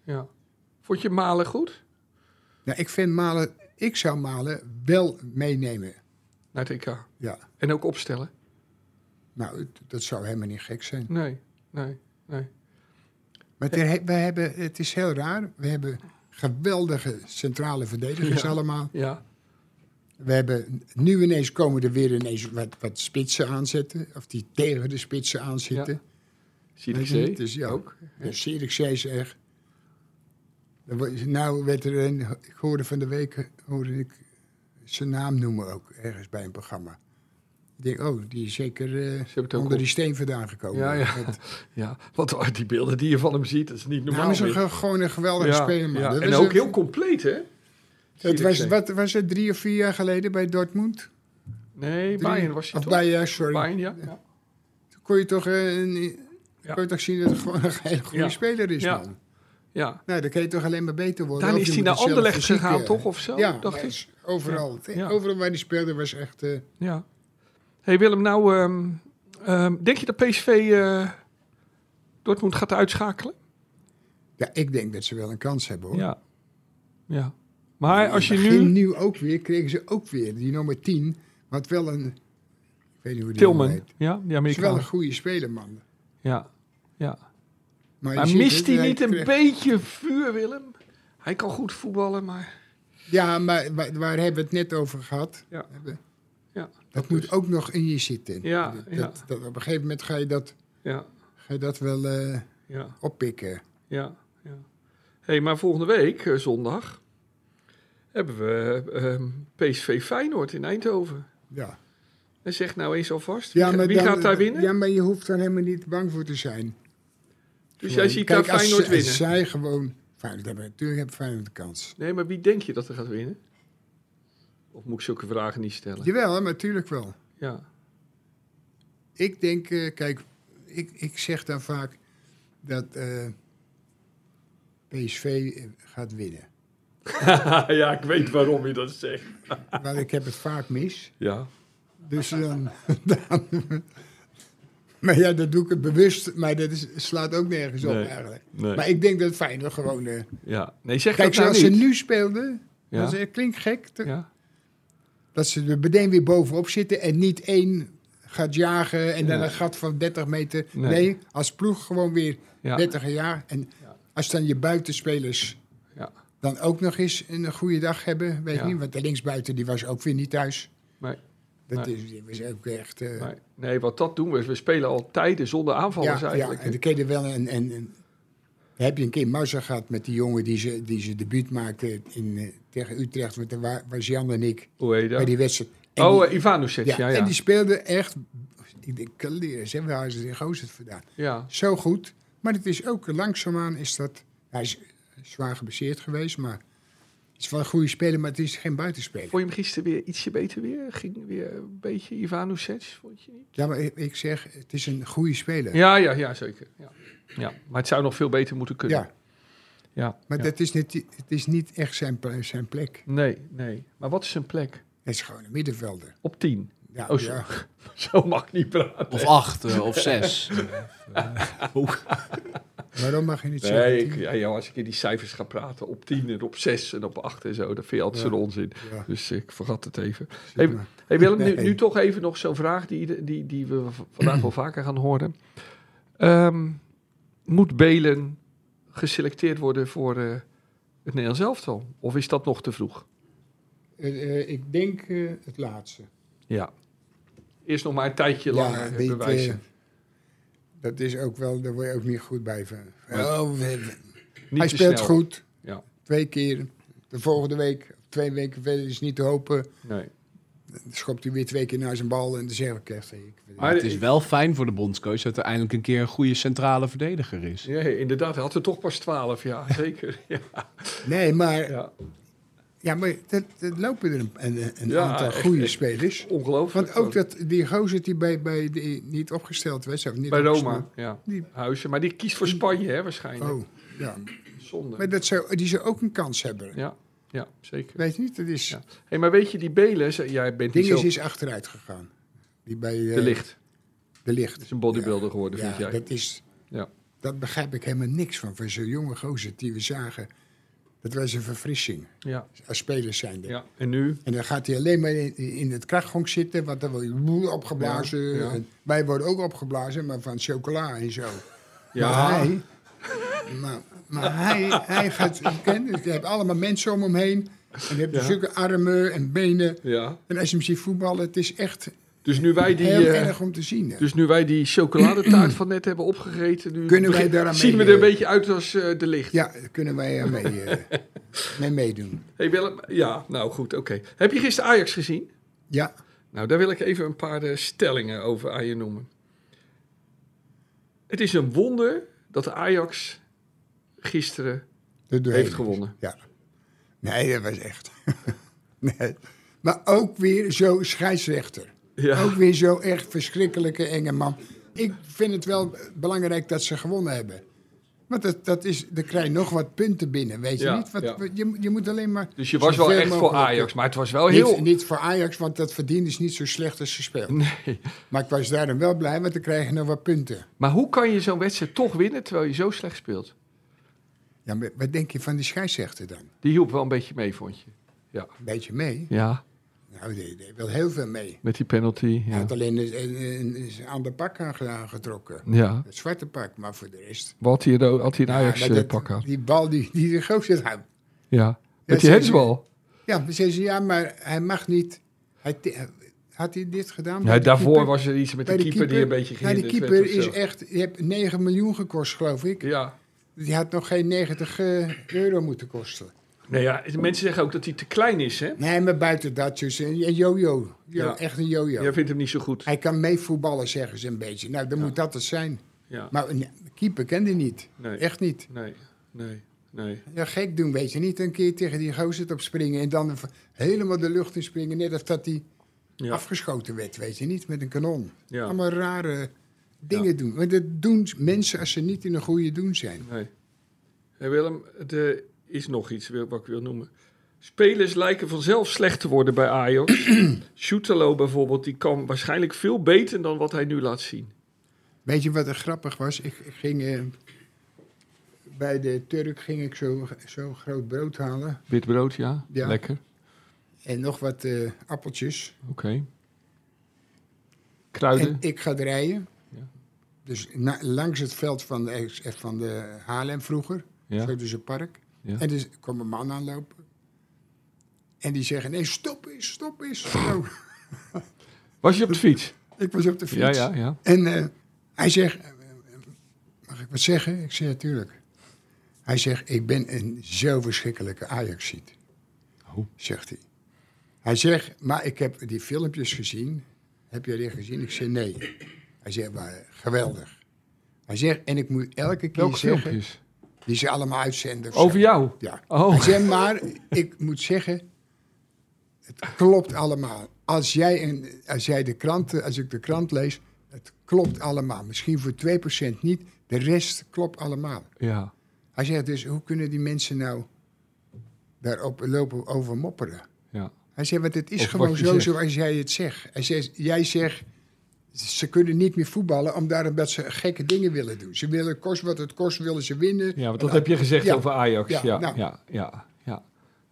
ja. Vond je Malen goed?
Nou, ik vind Malen, ik zou Malen wel meenemen.
Naar het EK.
Ja.
En ook opstellen?
Nou, het- dat zou helemaal niet gek zijn.
Nee, nee, nee.
Maar ter- he- wij hebben, het is heel raar. We hebben geweldige centrale verdedigers
Ja.
allemaal.
Ja,
We hebben, nu ineens komen er weer ineens wat, wat spitsen aanzetten. Of die tegen de spitsen aanzitten.
zie
Weet
ik
je niet?
ze.
Dus ja,
Ook.
Ja, Sirik zei ze echt. Er wo- Nou werd er een, ik hoorde van de week, hoorde ik zijn naam noemen ook, ergens bij een programma. Ik denk, oh, die is zeker eh,
hebben het ook
onder
op-
die steen vandaan gekomen.
Ja, ja.
Het-
Ja, want die beelden die je van hem ziet, dat is niet normaal.
nou, is een
meer.
ge- gewoon een geweldige
ja,
speler. man.
ja.
Dat
En
was
ook
het-
heel compleet, hè?
het was,
Zirkzee.
wat was het, drie of vier jaar geleden bij Dortmund?
Nee,
Drie-
Bayern was hij
Of
toch?
Bayern, sorry.
Bayern, ja. ja.
Toen kon je toch, eh, een-
Ja.
kon je toch zien dat het gewoon een hele goede
Ja.
speler is,
Ja.
man.
ja.
Nou, dan kan je toch alleen maar beter worden.
Dan
Of
is
je
hij
moet
naar
het zelf
Anderlecht
fysiek,
gegaan,
eh,
toch? Of zo,
ja,
dacht
maar
ik.
is Overal.
Ja.
Overal waar die speelde was echt... eh,
Ja. hey Willem, nou, ehm, ehm, denk je dat PSV eh, Dortmund gaat uitschakelen?
ja, ik denk dat ze wel een kans hebben, hoor.
Ja. ja. Maar als je
In het begin
nu...
nu ook weer, kregen ze ook weer die nummer 10. Wat wel een... Ik weet niet hoe die jongen
Tilman,
heet.
ja, die
Is wel een
Amerikaan.
goede speler, man.
Ja, ja.
Maar, je
Maar
ziet
mist
het,
hij
hij
niet een
krijgt-
beetje vuur, Willem? Hij kan goed voetballen, maar...
Ja, maar waar, waar hebben we het net over gehad?
Ja.
Hebben-
Ja,
dat moet ook nog in je zitten.
Ja,
dat,
ja.
Dat, dat- op een gegeven moment ga je dat,
Ja,
ga je dat wel eh,
ja.
oppikken.
Ja, ja. hey, maar volgende week, eh, zondag, hebben we ehm, PSV Feyenoord in Eindhoven.
Ja.
En zeg nou eens alvast,
Ja,
wie,
maar
wie
dan-
gaat daar winnen?
Ja, maar je hoeft daar helemaal niet bang voor te zijn.
dus jij
Gewoon,
ziet
kijk,
daar
als
Feyenoord
ze-
winnen.
Als zij gewoon... Feyenoord hebben, natuurlijk hebben Feyenoord de kans.
Nee, maar wie denk je dat er gaat winnen? Of moet ik zulke vragen niet stellen? Ja.
Jawel, maar natuurlijk wel. Ik denk, eh, kijk, ik, ik zeg dan vaak dat eh, PSV eh, gaat winnen.
Ja. ik weet waarom je dat zegt.
Want ik heb het vaak mis.
Ja.
Dus dan... dan maar ja, dat doe ik het bewust. Maar dat is, slaat ook nergens op
Nee,
eigenlijk.
Nee.
Maar ik denk dat Feyenoord gewoon... eh,
ja. nee zeg
kijk,
dat nou
zoals ze
niet.
nu speelden...
Ja.
Dat is- eh, klinkt gek. te-
Ja.
Dat ze er meteen weer bovenop zitten en niet één gaat jagen en dan
Nee.
een gat van 30 meter.
Nee.
Nee, als ploeg gewoon weer
Ja.
30 jaar. En
Ja.
als dan je buitenspelers
Ja.
dan ook nog eens een goede dag hebben, weet je
Ja.
niet. Want de linksbuiten die was ook weer niet thuis.
Nee.
Dat is, die was ook echt... eh,
Nee. nee, wat dat doen we, is we spelen al tijden zonder aanvallers
ja, ja,
eigenlijk.
en dan kun je er wel een... en en- heb je een keer Mazza gehad met die jongen die ze, die ze debuut maakte in, eh, tegen Utrecht. Want daar wa- was Jan en ik
Hoe heet
bij
dat?
die wedstrijd. En die-
Oh, eh, Ivanovic, ja,
Ja,
ja.
en die speelde echt... Ik denk, kaleren, zeg, waar is die gozer het vandaan?
ja.
Zo goed. Maar het is ook langzaamaan is dat... Hij is zwaar geblesseerd geweest, maar... Het is wel een goede speler, maar het is geen buitenspeler.
Vond je hem gisteren weer ietsje beter weer? Ging weer een beetje Ivanusic, vond je niet?
Ja, maar ik, ik zeg, het is een goede speler.
Ja, ja, ja, zeker. Ja. Ja, maar het zou nog veel beter moeten kunnen. Ja.
Ja.
Ja,
Maar
ja.
dat is niet, het is niet echt zijn, pl- zijn plek.
Nee, nee. Maar wat is zijn plek?
Hij is gewoon een middenvelder.
Op 10.
Ja,
Oh, zo.
ja.
Zo mag ik niet praten.
Of acht eh, of zes.
Waarom mag je niet zeggen?
Nee, ik,
tien?
ja, joh, als ik in die cijfers ga praten, op 10 en op 6 en op 8 en zo, dat vind je altijd zo'n onzin.
Ja.
Dus ik vergat het even.
Zeg
Hey,
maar.
hey Willem, nu,
Nee.
nu toch even nog zo'n vraag die, die, die we v- vandaag wel vaker gaan horen. Ehm, moet Belen geselecteerd worden voor eh, het Nederlands elftal? Of is dat nog te vroeg?
Eh, eh, ik denk eh, het laatste.
Ja. Eerst nog maar een tijdje langer
weet,
bewijzen.
eh, dat is ook wel, daar word je ook niet goed bij van. Oh, we- we-
Niet
hij
te
speelt
snel.
goed.
Ja.
Twee keer. De volgende week, twee weken verder is niet te hopen.
Nee.
Dan schopt hij weer twee keer naar zijn bal en dan zeg ik echt. hey, Ik,
Maar het is wel fijn voor de bondscoach dat er eindelijk een keer een goede centrale verdediger is.
Ja, inderdaad, hij had er toch pas 12, ja, zeker. Ja,
nee, maar,
ja.
ja, maar dat, dat lopen er een, een, een
Ja,
aantal
echt,
goede
echt.
spelers.
Ongelooflijk.
Want ook dat, die gozer die bij, bij die, niet opgesteld was. Of niet
Bij
opgesnoept.
Roma, ja.
Die-
Huizen. Maar die kiest voor Spanje, hè, waarschijnlijk.
Oh, ja.
Zonde.
Maar dat zou, die zou ook een kans hebben.
Ja, ja, zeker.
Weet je niet, dat is...
Ja. Hey, maar weet je, die Belen, ze- jij bent niet
Dinges
zo...
is achteruit gegaan. Die bij eh,
De licht.
De licht.
is een bodybuilder geworden,
Ja,
vind jij.
dat is...
Ja.
Dat begrijp ik helemaal niks van. Van zo'n jonge gozer die we zagen. Dat was een verfrissing.
Ja,
Als spelers zijnde.
ja. En nu?
En dan gaat hij alleen maar in, in het krachtgong zitten. Want dan wordt hij boel opgeblazen.
Ja, ja.
En wij worden ook opgeblazen, maar van chocola en zo.
Ja.
Maar hij... Maar, maar hij, hij gaat... Je kent het, je hebt allemaal mensen om hem heen. En je hebt
Ja.
zulke armen en benen.
Ja.
En als je hem ziet voetballen, het is echt
Dus nu wij die...
heel
eh,
erg om te zien. hè.
dus nu wij die chocoladetaart van net hebben opgegeten, nu
Kunnen wij
begin-
daaraan
zien we
mee,
er een
eh,
beetje uit als eh, de licht.
Ja, daar kunnen wij er mee, eh, mee meedoen.
Hey Willem, ja, nou goed, oké. Heb je gisteren Ajax gezien?
Ja,
Nou, daar wil ik even een paar eh, stellingen over aan je noemen. Het is een wonder dat de Ajax gisteren
dat doe
heeft gewonnen.
Ja. Nee, dat was echt. nee. Maar ook weer zo scheidsrechter. Ook
Ja,
weer zo echt verschrikkelijke enge man. Ik vind het wel belangrijk dat ze gewonnen hebben. Want dat, dat is, dan krijg je nog wat punten binnen, weet je
Ja,
niet? Want
ja.
je, je moet alleen maar...
dus je was wel
zoveel
echt voor
mogelijk-
Ajax, maar het was wel
Niet,
heel...
niet voor Ajax, want dat verdienen is niet zo slecht als ze speelden.
Nee.
Maar ik was daarom wel blij, want dan krijg je nog wat punten.
Maar hoe kan je zo'n wedstrijd toch winnen terwijl je zo slecht speelt?
Ja, maar wat denk je van die scheidsrechter dan?
Die hielp wel een beetje mee, vond je?
Een beetje mee.
Ja,
Nou, die deed wel heel veel mee.
met die penalty.
Hij
Ja,
had alleen een, een, een- een ander pak aange- aangetrokken.
ja.
Het zwarte pak, maar voor de rest...
Wat hij, er- had hij een
Ja,
Ajax
maar
eh,
dat-
pak aan?
Die bal die, die de gozer had.
Ja, met die
zeker.
hensbal.
Ja, dan zei ze, ja, maar hij mag niet... Hij, te- had hij dit gedaan? bij
Ja,
de keeper?
daarvoor was er iets met de
Bij
keeper die een beetje
Nou,
gehinderd
die
werd.
keeper
of
is
zo.
echt... Je hebt 9 miljoen gekost, geloof ik.
Ja,
Die had nog geen 90 eh, euro moeten kosten.
nee, ja, mensen zeggen ook dat hij te klein is, hè?
Nee, maar buiten dat, dus een een jojo. Jo,
Ja.
Echt een jojo.
Jij vindt hem niet zo goed.
Hij kan meevoetballen, zeggen ze een beetje. Nou, dan moet dat het zijn.
Ja.
Maar een keeper kende niet.
Nee.
Echt niet.
Nee, nee, nee.
Ja, gek doen, weet je niet. Een keer tegen die gozer op springen en dan v- helemaal de lucht in springen. Net of dat hij
Ja,
afgeschoten werd, weet je niet, met een kanon.
ja.
Allemaal rare dingen
Ja.
doen. Maar dat doen s- mensen als ze niet in een goede doen zijn.
Nee. Hey Willem, er is nog iets wil- wat ik wil noemen. Spelers lijken vanzelf slecht te worden bij Ajax. Shootalo bijvoorbeeld, die kan waarschijnlijk veel beter dan wat hij nu laat zien.
Weet je wat er grappig was? Ik ging eh, bij de Turk ging ik zo, zo groot brood halen
Wit brood, ja.
Ja.
Lekker.
en nog wat eh, appeltjes.
Oké. Kruiden.
En ik ga rijden.
Ja.
Dus na- langs het veld van de, eh, van de Haarlem vroeger.
Ja.
Zo dus een park.
Ja.
En dus kwam een man aanlopen. En die zeggen, nee, stop eens, stop eens. Zo.
Was je op de fiets?
ik was op de fiets.
Ja, ja, ja.
En eh, hij zegt, eh, mag ik wat zeggen? Ik zeg, natuurlijk. Hij zegt, ik ben een zo verschrikkelijke Ajaxiet.
Oh.
Zegt hij. Hij zegt, maar ik heb die filmpjes gezien. Heb jij die gezien? Ik zeg, nee. Hij zegt, maar geweldig. Hij zegt, en ik moet elke keer
Welke
zeggen...
filmpjes?
Die ze allemaal uitzenden. of zo.
Over jou?
Ja.
Oh.
Hij zei, maar ik moet zeggen, het klopt allemaal. Als jij, een, als jij de kranten, als ik de krant lees, het klopt allemaal. Misschien voor 2% niet, de rest klopt allemaal.
Ja.
Hij Hij zegt dus, hoe kunnen die mensen nou daarop lopen over mopperen?
Ja.
Hij zegt, want het is
Of
gewoon
wat je
zo
zegt.
zoals jij het zegt. Hij zegt, jij zegt, ze kunnen niet meer voetballen omdat omdat ze gekke dingen willen doen. Ze willen kost wat het kost, willen ze winnen.
ja, want
En
dat heb je gezegd
ja,
over Ajax.
ja,
Ja, ja,
nou.
ja, ja, ja.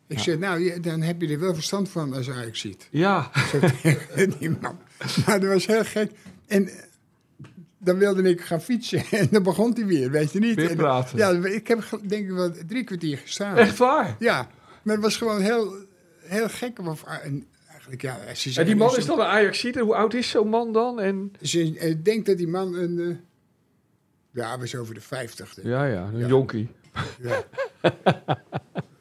Ik zeg, nou, je- dan heb je er wel verstand van als Ajax ziet. Zo tegen die man. Maar dat was heel gek. En eh, dan wilde ik gaan fietsen en dan begon hij weer, weet je niet.
Weer
En-
praten.
Ja, ik heb ge- denk ik wel drie kwartier gestaan.
Echt waar?
Ja, maar het was gewoon heel, heel gek. Of, eh, en eigenlijk, ja, ze
En die
zeggen-
man
ze-
is dan een Ajaxide. Hoe oud is zo'n man dan? En...
Ze, ik denk dat die man een... eh, ja, hij was over de 50. denk ik.
Ja, ja, een
Ja.
jonkie.
Ja.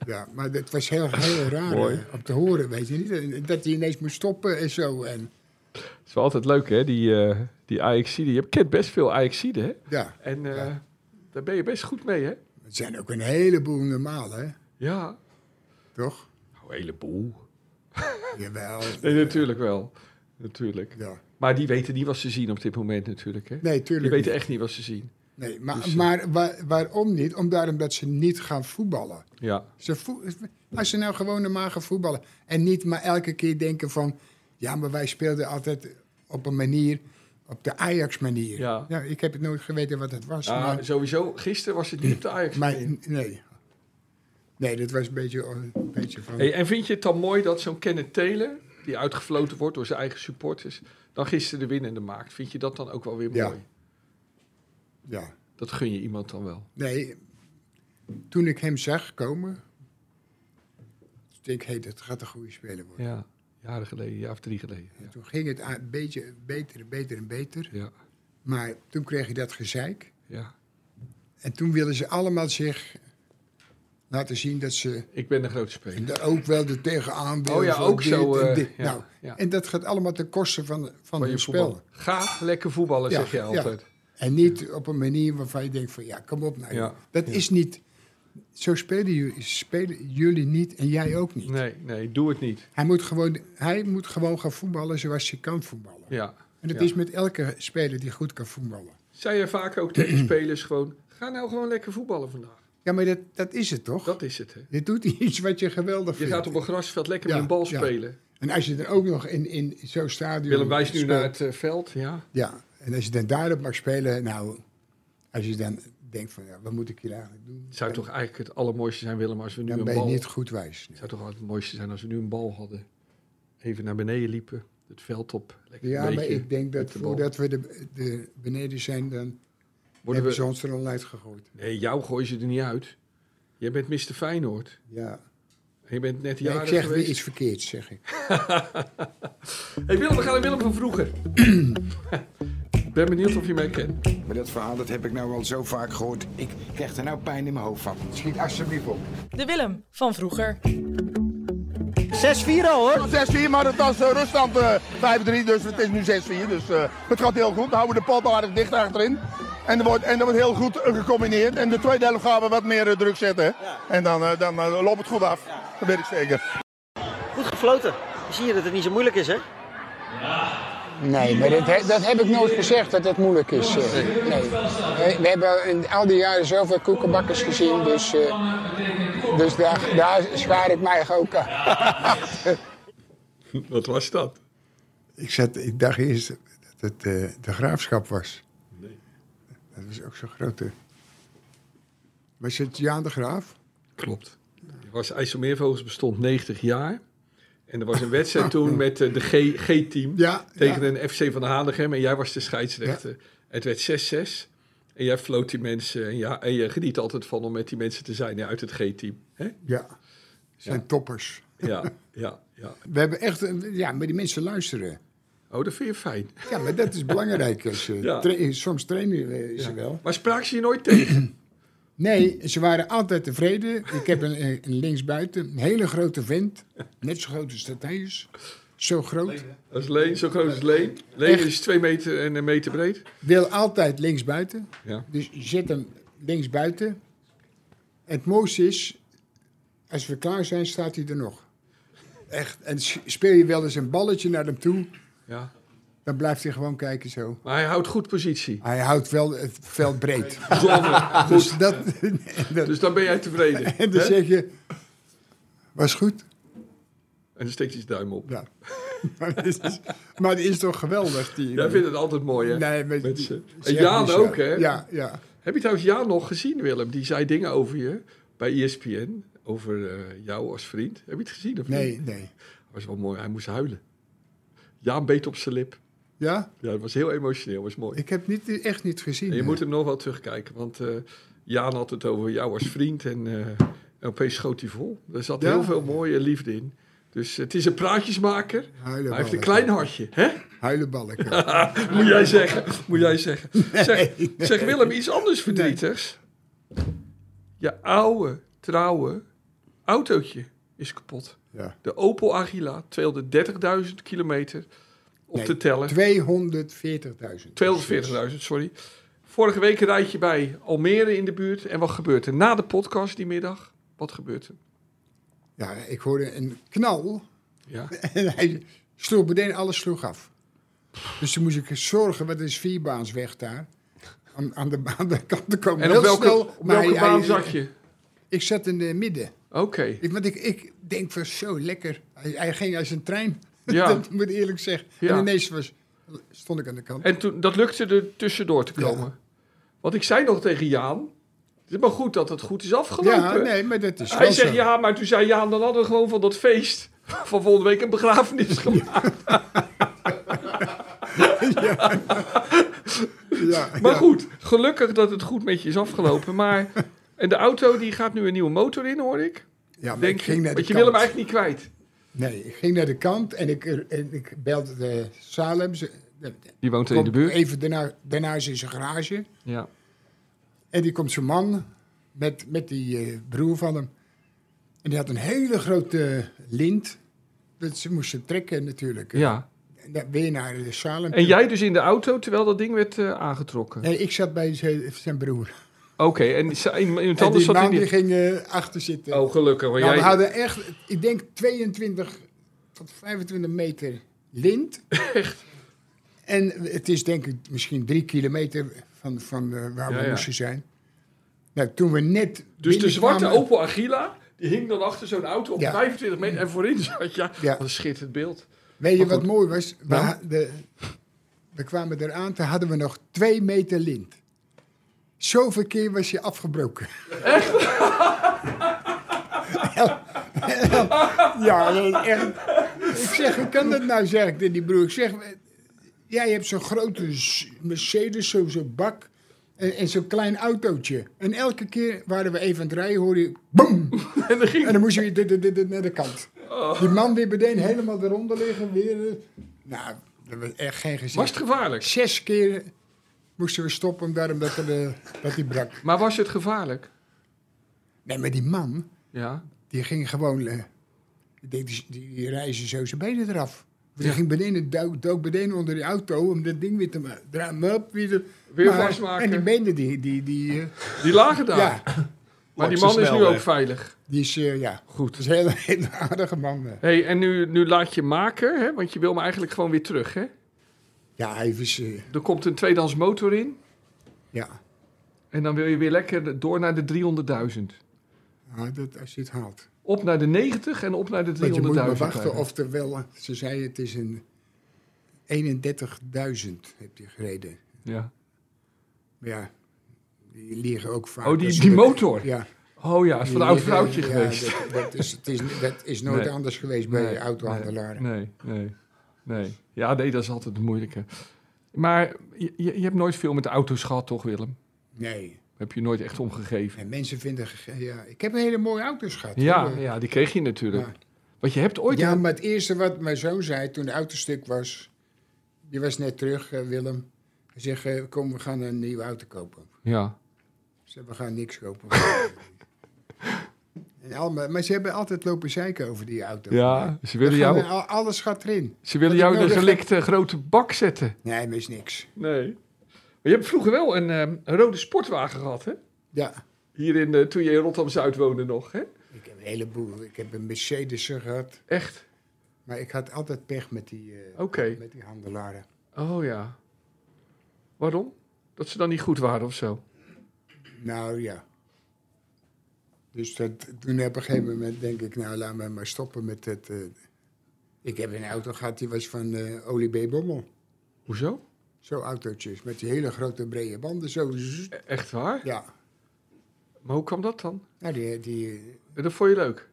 ja, maar het was heel, heel raar
Mooi.
eh, om te horen, weet je niet? En Dat hij ineens moest stoppen en zo. En,
Het is wel altijd leuk, hè, die, eh die Ajaxide. Je kent best veel Ajaxiden, hè?
ja,
En eh,
Ja.
daar ben je best goed mee, hè?
het zijn ook een heleboel normaal, hè?
Ja.
Toch?
Oh, een heleboel.
Jawel.
Nee, natuurlijk wel. Natuurlijk.
Ja.
Maar die weten niet wat ze zien op dit moment natuurlijk, hè?
Nee,
Die
tuurlijk
weten
niet.
echt niet wat ze zien.
Nee, maar
Dus, eh,
maar wa- waarom niet? Omdat, omdat ze niet gaan voetballen.
Ja.
Ze voe- als ze nou gewoon normaal gaan voetballen. En niet maar elke keer denken van... Ja, maar wij speelden altijd op een manier... Op de Ajax-manier.
Ja.
ik heb het nooit geweten wat het was.
Ah,
maar,
sowieso, gisteren was het niet op de Ajax.
maar nee. Nee, dat was een beetje, een beetje van...
Hey, en vind je het dan mooi dat zo'n Kenneth Taylor, die uitgefloten wordt door zijn eigen supporters, dan gisteren de winnende maakt? Vind je dat dan ook wel weer
Ja.
mooi?
Ja.
Dat gun je iemand dan wel.
Nee, toen ik hem zag komen... denk ik, hé, dat gaat een goede speler worden.
Ja, jaren geleden, een jaar of drie geleden. Ja.
En Toen ging het een beetje beter en beter en beter.
Ja,
Maar toen kreeg je dat gezeik.
ja.
En toen wilden ze allemaal zich laten zien dat ze
Ik ben de grote speler.
daar ook wel er tegenaan wilden.
Oh ja,
van
ook
dit
zo.
en
eh,
dit.
ja,
nou,
ja.
En dat gaat allemaal ten koste van, van,
Van
hun
je
spel.
voetbal. Ga lekker voetballen,
Ja,
zeg je
ja.
altijd.
En niet op een manier waarvan je denkt van ja, kom op nou.
Ja,
Dat is niet... Zo spelen jullie, spelen jullie niet en jij ook niet.
Nee, nee, doe het niet.
Hij, moet gewoon, hij moet gewoon gaan voetballen zoals hij kan voetballen.
Ja.
En dat
ja.
is met elke speler die goed kan voetballen.
Zei je vaak ook tegen spelers gewoon, ga nou gewoon lekker voetballen vandaag.
Ja, maar dat, dat is het toch?
Dat is het, hè.
Je doet iets wat je geweldig
Je
vindt.
gaat op een grasveld lekker
Ja,
met een bal
ja.
spelen.
En als je er ook nog in, in zo'n stadion...
Willem wijst nu
speelt-
naar het eh, veld. Ja.
Ja, en als je dan daarop mag spelen, nou, als je dan denkt van, ja, wat moet ik hier eigenlijk doen?
Het zou toch eigenlijk het allermooiste zijn, Willem, als we nu
Dan
een
ben je
bal...
niet goed wijs.
Het zou toch altijd het mooiste zijn als we nu een bal hadden. Even naar beneden liepen, het veld op. Lekker
Ja,
een
maar
beetje
ik denk
met
dat
de bal.
voordat we de, de beneden zijn, dan
Worden
hebben ze
we...
ons er al uitgegooid.
Nee, jou gooien ze er niet uit. Jij bent Mr. Feyenoord.
Ja.
En je bent net
Ja,
jarig
ik zeg weer
geweest.
iets verkeerds, zeg ik.
Hey Willem, we gaan naar Willem van vroeger. Ik ben benieuwd of je mij kent.
Maar dat verhaal dat heb ik nou al zo vaak gehoord. Ik krijg er nou pijn in mijn hoofd van.
Schiet alsjeblieft op.
De Willem van vroeger.
6-4 al hoor. 6-4, maar het was eh, ruststand eh, 5-3, dus het is nu 6-4. Dus eh, het gaat heel goed. We houden de pot aardig dicht achterin. En er wordt, en er wordt heel goed eh, gecombineerd. En de tweede helft gaan we wat meer eh, druk zetten. hè. En dan, eh, dan eh, loopt het goed af. Dat weet ik zeker.
Goed gefloten. Zie je dat het niet zo moeilijk is, hè?
Nee, maar dat, he- dat heb ik nooit gezegd dat het moeilijk is. eh. Nee. We, we hebben in al die jaren zoveel koekenbakkers gezien, dus, eh, dus daar, daar zwaar ik mij ook aan.
Wat was dat?
Ik, zat, ik dacht eerst dat het eh, de graafschap was. Nee. Dat was ook zo'n grote. Was het Jaan de Graaf?
Klopt. Er was IJsselmeervogels bestond 90 jaar. En er was een wedstrijd toen met eh, de G- G-team
Ja,
tegen
ja.
een FC van Hanegem. En jij was de scheidsrechter. Het werd 6-6. En jij floot die mensen. En, ja, en je geniet altijd van om met die mensen te zijn ja, uit het G-team. hè?
Ja. Zijn toppers.
Ja, ja, ja.
We hebben echt. een- Ja, maar die mensen luisteren.
Oh, dat vind je fijn.
Ja, maar dat is belangrijk. Als, eh,
Ja.
tra- soms trainen we ze
Ja.
wel.
Maar spraken ze je nooit tegen?
Nee, ze waren altijd tevreden. Ik heb een, een linksbuiten, een hele grote vent. Net zo groot als dat hij is. Zo groot.
Dat is Leen, zo groot als Leen. Leen
Echt?
is 2 meter en een meter breed.
Wil altijd linksbuiten.
Ja.
Dus je zet hem linksbuiten. Het mooiste is, als we klaar zijn, staat hij er nog. Echt. En s- speel je wel eens een balletje naar hem toe.
Ja.
Dan blijft hij gewoon kijken zo.
Maar hij houdt goed positie.
Hij houdt wel het veld breed.
Zonne.
Dus, dat, dat-
Dus dan ben jij tevreden.
en dan
hè?
zeg Dus je, was goed.
En dan steekt hij zijn duim op.
Ja. maar, het is, maar het is toch geweldig, die...
Jij vindt het altijd mooi, hè?
Nee, maar-
Met ze. En
zeg
Jaan
niet zo.
ook, hè?
Ja, ja.
Heb je trouwens Jaan nog gezien, Willem? Die zei dingen over je bij E ESPN. Over eh, jou als vriend. Heb je het gezien of niet?
Nee, nee.
Dat was wel mooi. Hij moest huilen. Jaan beet op zijn lip.
Ja?
Ja, dat was heel emotioneel. was mooi.
Ik heb niet, echt niet gezien.
En je
hè.
moet hem nog wel terugkijken. Want eh, Jaan had het over jou als vriend. En, eh en opeens schoot hij vol. Er zat
Ja.
heel veel mooie liefde in. Dus het is een praatjesmaker.
Huilenbalken.
Hij heeft een klein hartje, hè?
Huilenbalken.
Moet jij zeggen, moet jij zeggen. Zeg, zeg Willem, iets anders verdrietigs. Je oude, trouwe autootje is kapot.
Ja.
De Opel Agila, 230.000 kilometer op te tellen.
240.000.
240.000, sorry. Vorige week rijd je bij Almere in de buurt. En wat gebeurt er na de podcast die middag? Wat gebeurt er?
Ja, ik hoorde een knal
Ja,
en hij sloeg meteen alles sloeg af. Dus toen moest ik zorgen, wat is vierbaansweg daar? Aan, aan, de, aan de kant te komen.
en
Heel
op welke,
snel,
op
maar
welke
hij-
baan
hij-
zat je?
Ik zat in het midden.
Oké.
Ik, want ik, ik denk van zo lekker. Hij, hij ging als een trein.
Ja.
dat moet ik eerlijk zeggen.
Ja.
En ineens was, stond ik aan de kant.
En toen, dat lukte er tussendoor te
Ja.
komen. Want ik zei nog tegen Jaan... Het is maar goed dat het goed is afgelopen.
ja, nee, maar dat is
Hij
wel
zegt
zo.
ja, maar toen zei Jaan... dan hadden we gewoon van dat feest... van volgende week een begrafenis gemaakt.
Ja,
Maar
ja.
goed, gelukkig dat het goed met je is afgelopen. Maar, en de auto die gaat nu een nieuwe motor in, hoor ik.
Ja, Ah, maar
Denk
ik ging
je,
naar de
want je
kant.
wil hem eigenlijk niet kwijt.
Nee, ik ging naar de kant en ik, en ik belde de Salem. Ze- de- de-
Die woont
komt Even daarna, daarnaast in zijn garage.
Ja.
En die komt zijn man met, met die eh, broer van hem. En die had een hele grote lint. Dat ze moesten trekken natuurlijk.
ja.
En dan weer naar de Salem.
En jij dus in de auto terwijl dat ding werd eh, aangetrokken.
Nee, ik zat bij zijn, zijn broer.
Oké, en die- iemand
En
anders
die
zat in
man die
die...
ging eh, achter zitten.
Oh, gelukkig. Want
Nou, we
jij...
hadden echt, ik denk 22 tot 25 meter lint. Echt? En het is denk ik misschien drie kilometer van, van eh, waar
Ja,
we
ja.
moesten zijn. Nou, toen we net...
Dus de zwarte
binnenkwamen-
Opel Agila, die hing dan achter zo'n auto op
Ja.
25 meter. En voorin zat je.
Ja.
Wat een schitterend beeld.
Weet je
Maar
wat
goed.
mooi was? We,
Nou?
ha- de, we kwamen eraan, toen hadden we nog twee meter lint. Zoveel keer was je afgebroken. Echt? ja, dat is echt. Ik zeg, hoe kan dat nou, zeg ik tegen die broer. Ik zeg, jij hebt zo'n grote s- Mercedes, zo- zo'n bak en, en zo'n klein autootje. En elke keer waren we even aan het rijden, hoorde je boem.
En dan ging
En dan moest je weer dit, dit, dit, dit naar de kant.
Oh.
Die man weer meteen helemaal eronder liggen. Weer, eh, nou, dat was echt geen
Was
gezicht.
het gevaarlijk?
Zes keer moesten we stoppen daarom dat, er, eh, dat die brak.
Maar was het gevaarlijk?
Nee, maar die man,
Ja.
die ging gewoon... eh, die, die, die reizen zo zijn benen eraf. Die
Ja.
ging beneden, dook, dook beneden onder die auto om dat ding weer te ma- dra- me op, Weer, de-
Weer
maar-
vastmaken.
En die benen, die, die, die, eh,
Die lagen daar.
ja,
maar die
Langs
man
de
is nu
snelweg.
ook veilig.
die is, eh, ja,
Goed.
dat is een hele, hele aardige man. eh.
Hey, en nu, nu laat je maken, hè? want je wil hem eigenlijk gewoon weer terug. Hè?
Ja, hij was, eh,
Er komt een tweedehands motor in.
ja,
En dan wil je weer lekker door naar de 300.000.
Ah, dat, als je het haalt.
Op naar de 90 en op naar de 300.000.
Want je moet maar wachten
krijgen.
of er wel... Ze zei het is een 31.000 heb je gereden.
Ja.
Maar ja, die liegen ook vaak.
Oh, die-
als
die
ze dat-
motor?
Ja.
Oh ja, is van
Die
een oud
liegen-
vrouwtje
ja,
geweest.
Dat, dat is, het is, dat is nooit
Nee.
anders geweest bij
Nee,
autohandelaren.
Nee, nee, nee. Ja, nee, dat is altijd het moeilijke. Maar je, je je hebt nooit veel met de auto's gehad, toch, Willem?
Nee.
Heb je nooit echt omgegeven?
En mensen vinden... ge- Ja, ik heb een hele mooie auto's gehad.
Ja,
hoor.
ja, die kreeg je natuurlijk.
Ja.
Want je hebt ooit...
Ja, maar het eerste wat mijn zoon zei toen de auto stuk was... Die was net terug, eh, Willem. Hij zegt, eh, kom, we gaan een nieuwe auto kopen.
Ja.
Ze hebben gaan niks kopen. en allemaal, maar ze hebben altijd lopen zeiken over die auto.
ja, ze willen
We gaan-
jou,
al- alles gaat erin.
ze willen
wat ik
jou in een
nodig
gelikte grote bak zetten.
Nee, maar is niks.
Nee. Maar je hebt vroeger wel een, ehm, een rode sportwagen gehad, hè?
Ja,
Hier in, eh, toen je in Rotterdam-Zuid woonde nog, hè?
ik heb een heleboel. Ik heb een Mercedes gehad.
Echt?
Maar ik had altijd pech met die, eh,
Oké.
met die handelaren.
Oké. Oh ja. Waarom? Dat ze dan niet goed waren of zo?
Nou ja. Dus dat, toen heb ik op een gegeven moment denk ik, nou laat mij maar stoppen met het. eh, ik heb een auto gehad, die was van eh Olie B. Bommel.
Hoezo?
Zo autootjes, met die hele grote brede banden. Zo, zzz.
E- echt waar?
ja.
Maar hoe kwam dat dan?
Nou, die, die eh,
En Dat vond je leuk?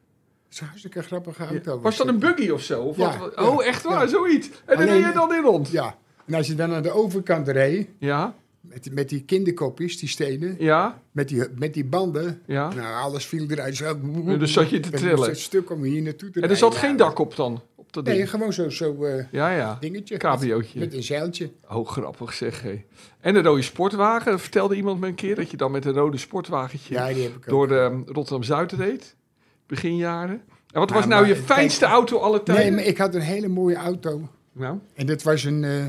is een hartstikke grappige auto.
Was dat een buggy of zo? Of
Ja,
wat?
ja,
Oh, echt waar?
ja.
Zoiets. En dan
Alleen-
reed je dan in rond?
Ja. En als je dan aan de overkant reed,
Ja,
met, die- met die kinderkopjes, die stenen,
ja,
met die, met die banden.
ja.
Nou, alles viel eruit. Zo,
En dus zat je te
Ik moest
trillen.
Het stuk om hier naartoe te
En er zat
rijden.
geen dak op dan? Op dat
Nee,
ding?
gewoon zo'n zo, eh,
Ja, ja.
dingetje.
Cabiootje.
Met een zeiltje.
Oh, grappig zeg. hé. En een rode sportwagen. Dat Vertelde iemand me een keer dat je dan met een rode sportwagentje
Ja, die heb ik ook.
door ehm, Rotterdam-Zuid reed. Begin jaren. En wat
Maar-
was nou je
maar-
fijnste
kijk-
auto alle
Nee,
tijden?
maar ik had een hele mooie auto.
Nou.
En dat was een, eh,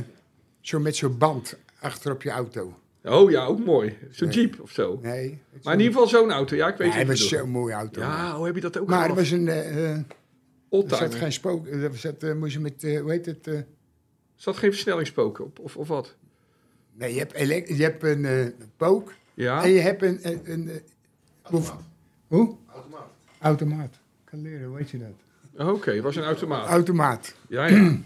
zo met zo'n band achter op je auto.
Oh ja, ook mooi. Zo'n
Nee.
jeep of zo.
Nee.
Maar in ieder geval zo'n auto. Ja, ik weet
Ja, hij
het
was
niet.
zo'n mooie auto.
Ja, hoe heb je dat ook
Maar er
gehad?
was een, eh, eh, er
Oldtimer.
zat geen spook. Er zat, eh, moest je met, eh, hoe heet het? eh,
Zat geen versnellingspoken op of, of wat?
nee, je hebt, elek- je hebt een eh, pook en
Ja,
je hebt een... een, een eh, hoef- hoe? Automaat. Automaat. Ik kan leren, hoe heet je dat?
oké. was een automaat.
Automaat.
Ja, ja.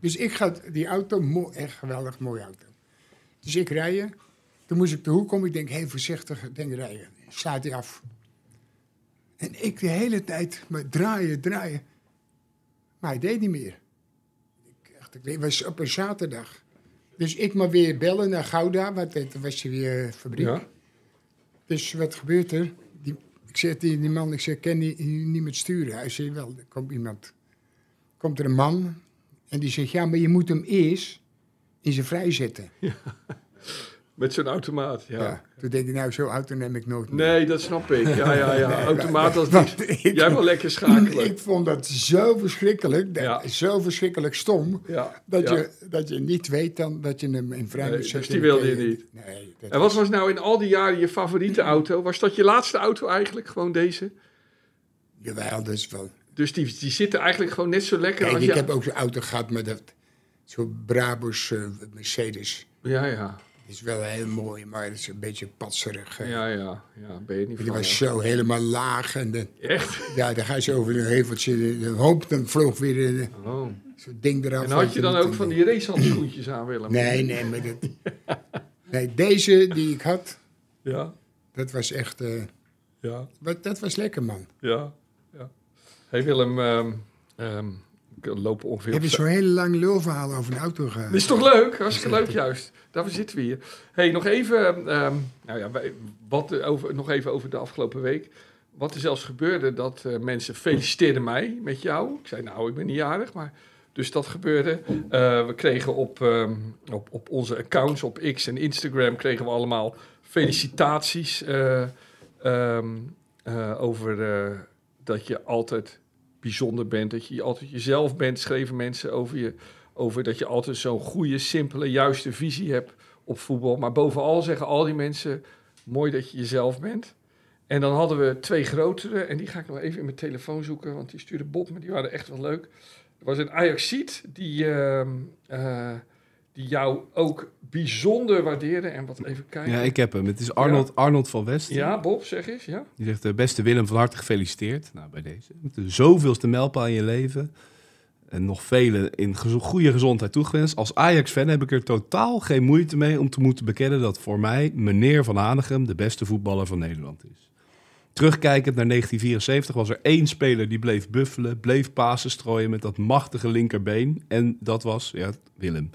Dus ik ga die auto, mo- echt geweldig mooie auto. Dus ik rijden. Toen moest ik de hoek om. Ik denk, heel voorzichtig, denk rijden. Staat hij af. En ik de hele tijd maar draaien, draaien. Maar hij deed niet meer. Ik, echt, ik, het was op een zaterdag. Dus ik maar weer bellen naar Gouda, want het was hier weer eh, fabriek.
ja.
Dus wat gebeurt er? Die, ik zeg tegen die man, ik zeg, kan die hier niet met sturen? Hij zegt, wel, er komt iemand. Komt er een man en die zegt, ja, maar je moet hem eerst in zijn vrij zetten.
Met zo'n automaat,
Ja.
ja.
Toen denk ik, nou, zo'n auto neem ik nooit meer.
Nee, dat snap ik. Ja, ja, ja. Automaat als
Want
niet.
ik-
Jij wil lekker schakelen.
Ik vond dat zo verschrikkelijk, dat,
Ja.
zo verschrikkelijk stom,
Ja,
dat,
ja.
je, dat je niet weet dan dat je hem in vrij
Nee,
moet
dus
zetten.
die wilde je
Nee,
niet.
Nee. dat
En wat was nou in al die jaren je favoriete auto? Was dat je laatste auto eigenlijk? Gewoon deze?
Jawel, dat is wel...
Dus die, die zitten eigenlijk gewoon net zo lekker
Kijk,
als
ik
je...
heb ook zo'n auto gehad met dat, zo'n Brabus eh, Mercedes.
Ja, ja.
Die is wel heel mooi, maar het is een beetje patserig. hè.
Ja, ja. Ja, ben je niet
Die
van.
was
ja.
zo helemaal laag en dan,
Echt?
ja, dan ga je zo over een heveltje, de- de hoop, dan vloog weer een eh,
Oh.
zo'n ding eraf.
En had
weet
je dan
niet,
ook
en
van die racehandschoentjes aan, Willem?
Nee, nee, maar dat... Nee, deze die ik had,
Ja,
dat was echt... eh,
ja,
wat, dat was lekker, man.
ja. ja. hey Willem, ehm ehm, ik loop ongeveer... op
Heb je zo'n hele lang lulverhaal over een auto gehad?
Dat is toch leuk? Hartstikke leuk juist. Daarvoor zitten we hier. hey, nog even, ehm, nou ja, wij- wat er over, nog even over de afgelopen week. Wat er zelfs gebeurde, dat eh, mensen feliciteerden mij met jou. Ik zei, nou, ik ben niet jarig, maar... Dus dat gebeurde. Eh, we kregen op, ehm, op, op onze accounts, op X en Instagram, kregen we allemaal felicitaties eh, ehm, eh, over eh, dat je altijd bijzonder bent, dat je altijd jezelf bent, schreven mensen over je over dat je altijd zo'n goede, simpele, juiste visie hebt op voetbal. Maar bovenal zeggen al die mensen, mooi dat je jezelf bent. En dan hadden we twee grotere, en die ga ik nog even in mijn telefoon zoeken, want die stuurde Bob, maar die waren echt wel leuk. Er was een Ajaxiet die, ehm, eh, die jou ook bijzonder waardeerde. En wat even kijken.
Ja, ik heb hem. Het is Arnold, Arnold van West.
Ja, Bob, zeg eens. Ja.
Die zegt, eh, beste Willem, van harte gefeliciteerd. Nou, bij deze. Met de zoveelste mijlpaal in je leven. En nog vele in gezo- goede gezondheid toegewenst. Als Ajax-fan heb ik er totaal geen moeite mee om te moeten bekennen dat voor mij meneer Van Hanegem de beste voetballer van Nederland is. Terugkijkend naar 1974 was er één speler die bleef buffelen, bleef pasen strooien met dat machtige linkerbeen. En dat was ja, Willem.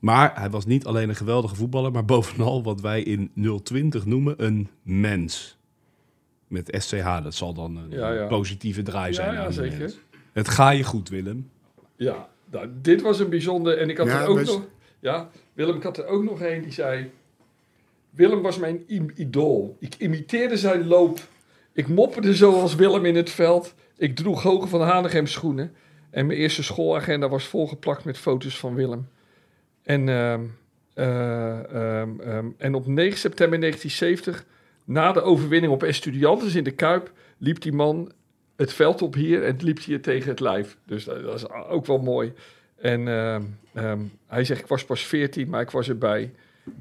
Maar hij was niet alleen een geweldige voetballer, maar bovenal wat wij in 020 noemen een mens. Met SCH, dat zal dan een
Ja, ja.
positieve draai zijn.
Ja, ja,
aan de
zeker.
mens. nou Het ga je goed, Willem.
Ja, nou, dit was een bijzonder. En ik had
Ja,
er ook
best-
nog. Ja, Willem, ik had er ook nog een die zei. Willem was mijn im- idool. Ik imiteerde zijn loop. Ik mopperde zoals Willem in het veld. Ik droeg hoge van Hanegem schoenen. En mijn eerste schoolagenda was volgeplakt met foto's van Willem. En, ehm, eh, ehm, ehm, en op 9 september 1970, na de overwinning op Estudiantes in de Kuip, liep die man het veld op hier en liep hier tegen het lijf. Dus dat, dat is ook wel mooi. En ehm, ehm, hij zegt, ik was pas 14, maar ik was erbij.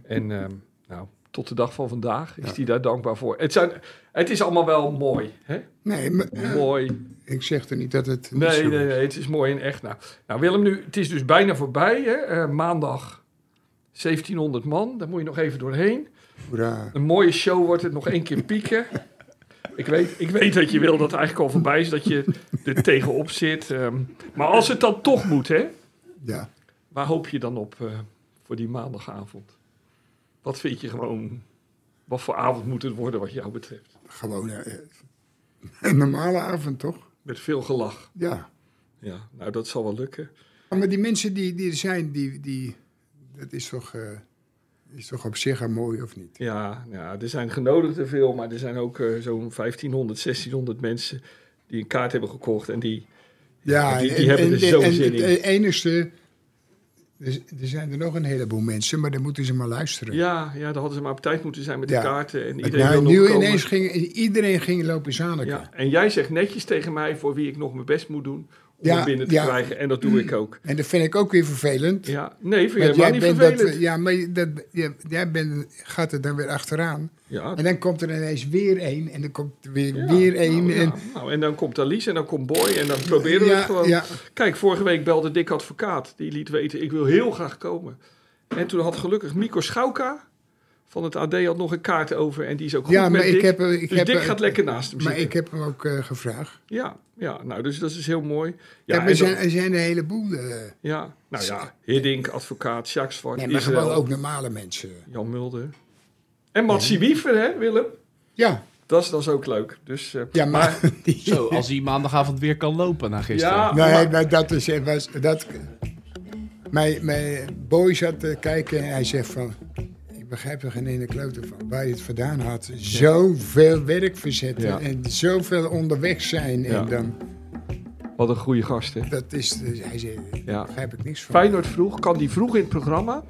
En ehm, nou, tot de dag van vandaag is hij daar dankbaar voor. Het, zijn, het is allemaal wel mooi. Hè?
Nee, maar,
Mooi.
ik zeg er niet dat het niet
Nee,
zo
nee,
is.
nee, het is mooi en echt. Nou, nou Willem, nu, het is dus bijna voorbij. Hè? Eh, maandag 1700 man, daar moet je nog even doorheen.
Hoera.
Een mooie show wordt het, nog één keer pieken. Ik weet, ik weet dat je wil dat het eigenlijk al voorbij is, dat je er tegenop zit. ehm. maar als het dan toch moet, hè?
Ja.
Waar hoop je dan op eh, voor die maandagavond? Wat vind je gewoon... Wat voor avond moet het worden wat jou betreft?
Gewoon eh, een normale avond, toch?
Met veel gelach.
Ja.
Ja, nou dat zal wel lukken.
Maar die mensen die, die er zijn, die, die, dat is toch, eh, is toch op zich al mooi, of niet?
Ja, ja, er zijn genodigden veel, maar er zijn ook eh, zo'n 1500, 1600 mensen die een kaart hebben gekocht en die...
Ja,
Die- die hebben er zo zin in.
Het enigste, er, er zijn er nog een heleboel mensen, maar dan moeten ze maar luisteren.
Ja, ja, daar hadden ze maar op tijd moeten zijn met de
Ja.
kaarten en
Want
iedereen wil
nou,
nog
nu
komen.
ineens ging, iedereen ging lopen zaniken.
Ja, en jij zegt netjes tegen mij voor wie ik nog mijn best moet doen om
Ja,
hem binnen te
ja.
krijgen. En dat doe ik ook.
En dat vind ik ook weer vervelend.
Ja, nee, vind je
Want
helemaal niet
bent
vervelend.
Dat, eh, ja, maar je- dat, je- jij bent, gaat er dan weer achteraan.
ja, nou,
En dan komt er ineens weer één. En dan komt er weer,
ja,
weer één.
nou, ja,
en,
nou, en dan komt Alice en dan komt Boy en dan proberen we
ja,
het gewoon.
Ja,
Kijk, vorige week belde Dick Advocaat. Die liet weten, ik wil heel graag komen. En toen had gelukkig Mico Schauka van het AD had nog een kaart over. En die is ook goed
ja
met
maar ik
Dick.
heb, eh, ik
dus
heb,
Dick
eh,
gaat lekker naast hem
maar
zitten.
ik heb hem ook eh, gevraagd.
Ja, ja, nou, dus dat is heel mooi. Ja,
Ja,
en
er, zijn,
dan-
er zijn een heleboel. eh
ja, nou ja, Hiddink, Advocaat, Jacques Zwart,
nee, maar
Israël,
gewoon ook normale mensen.
Jan Mulder. En Matsi Wiever, hè, Willem?
Ja,
Dat is, dat is ook leuk. Dus, eh,
ja maar, die,
Zo, als hij maandagavond weer kan lopen na gisteren.
Ja.
nee, maar dat is... eh, Was, dat, mijn, mijn boy zat te kijken en hij zegt van... Ik begrijp er geen ene klote van. Waar je het vandaan had. Zoveel werk verzetten.
Ja.
En zoveel onderweg zijn.
Ja.
En dan...
Wat een goede gast, hè?
Dat is... eh, hij zei... Daar
Ja.
begrijp ik niks van.
Feyenoord vroeg, kan die vroeg in het programma?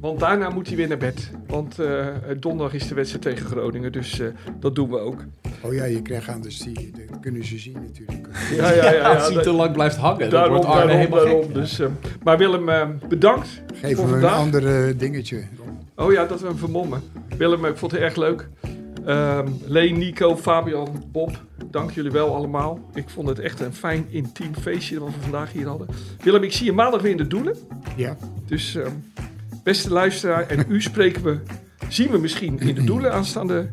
Want daarna moet hij weer naar bed. Want eh, donderdag is de wedstrijd tegen Groningen, dus eh, dat doen we ook.
Oh ja, je krijgt anders die... Dat kunnen ze zien natuurlijk.
Ja, ja, ja. ja,
als hij
da-
te lang blijft hangen, dan
daarom,
wordt Arne
daarom,
helemaal
daarom.
gek.
Dus, eh, maar Willem, eh, bedankt
Geef
voor
hem een
vandaag.
ander dingetje.
Oh ja, dat we hem vermommen. Willem, ik vond het erg leuk. Ehm Leen, Nico, Fabian, Bob, dank jullie wel allemaal. Ik vond het echt een fijn intiem feestje wat we vandaag hier hadden. Willem, ik zie je maandag weer in de Doelen.
Ja.
Dus ehm, beste luisteraar, en u spreken we, zien we misschien in de doelen aanstaande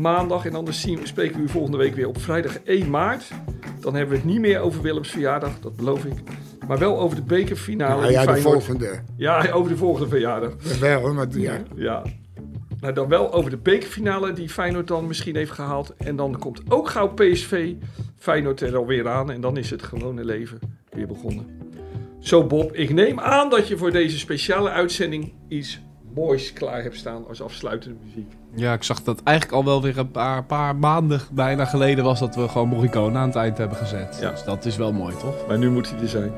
maandag. En anders zien, spreken we u volgende week weer op vrijdag 1 maart. Dan hebben we het niet meer over Willems verjaardag, dat beloof ik. Maar wel over de bekerfinale.
Nou
die
ja, de
Feyenoord-
volgende.
Ja, over de volgende verjaardag.
Wel, maar ja.
Ja. Maar dan wel over de bekerfinale die Feyenoord dan misschien heeft gehaald. En dan komt ook gauw PSV Feyenoord er alweer aan. En dan is het gewone leven weer begonnen. Zo Bob, ik neem aan dat je voor deze speciale uitzending iets moois klaar hebt staan als afsluitende muziek.
Ja, ik zag dat eigenlijk al wel weer een paar, paar maanden bijna geleden was dat we gewoon Morricone aan het eind hebben gezet.
Ja.
Dus dat is wel mooi, toch?
Maar nu moet hij er zijn.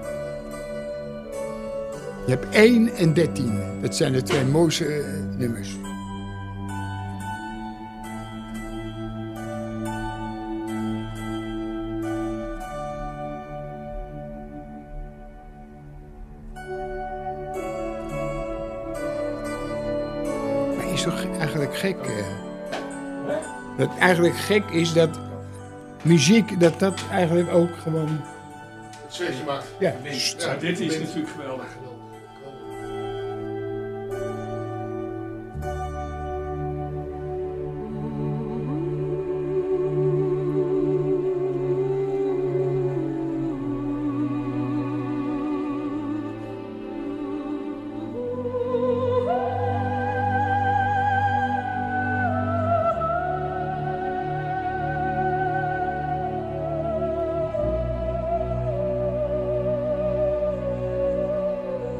Je hebt 1 en 13. Dat zijn de twee mooiste eh, nummers. Maar is toch eigenlijk gek? eh, dat eigenlijk gek is dat muziek, dat dat eigenlijk ook gewoon. Ja,
dit is natuurlijk geweldig.
Thank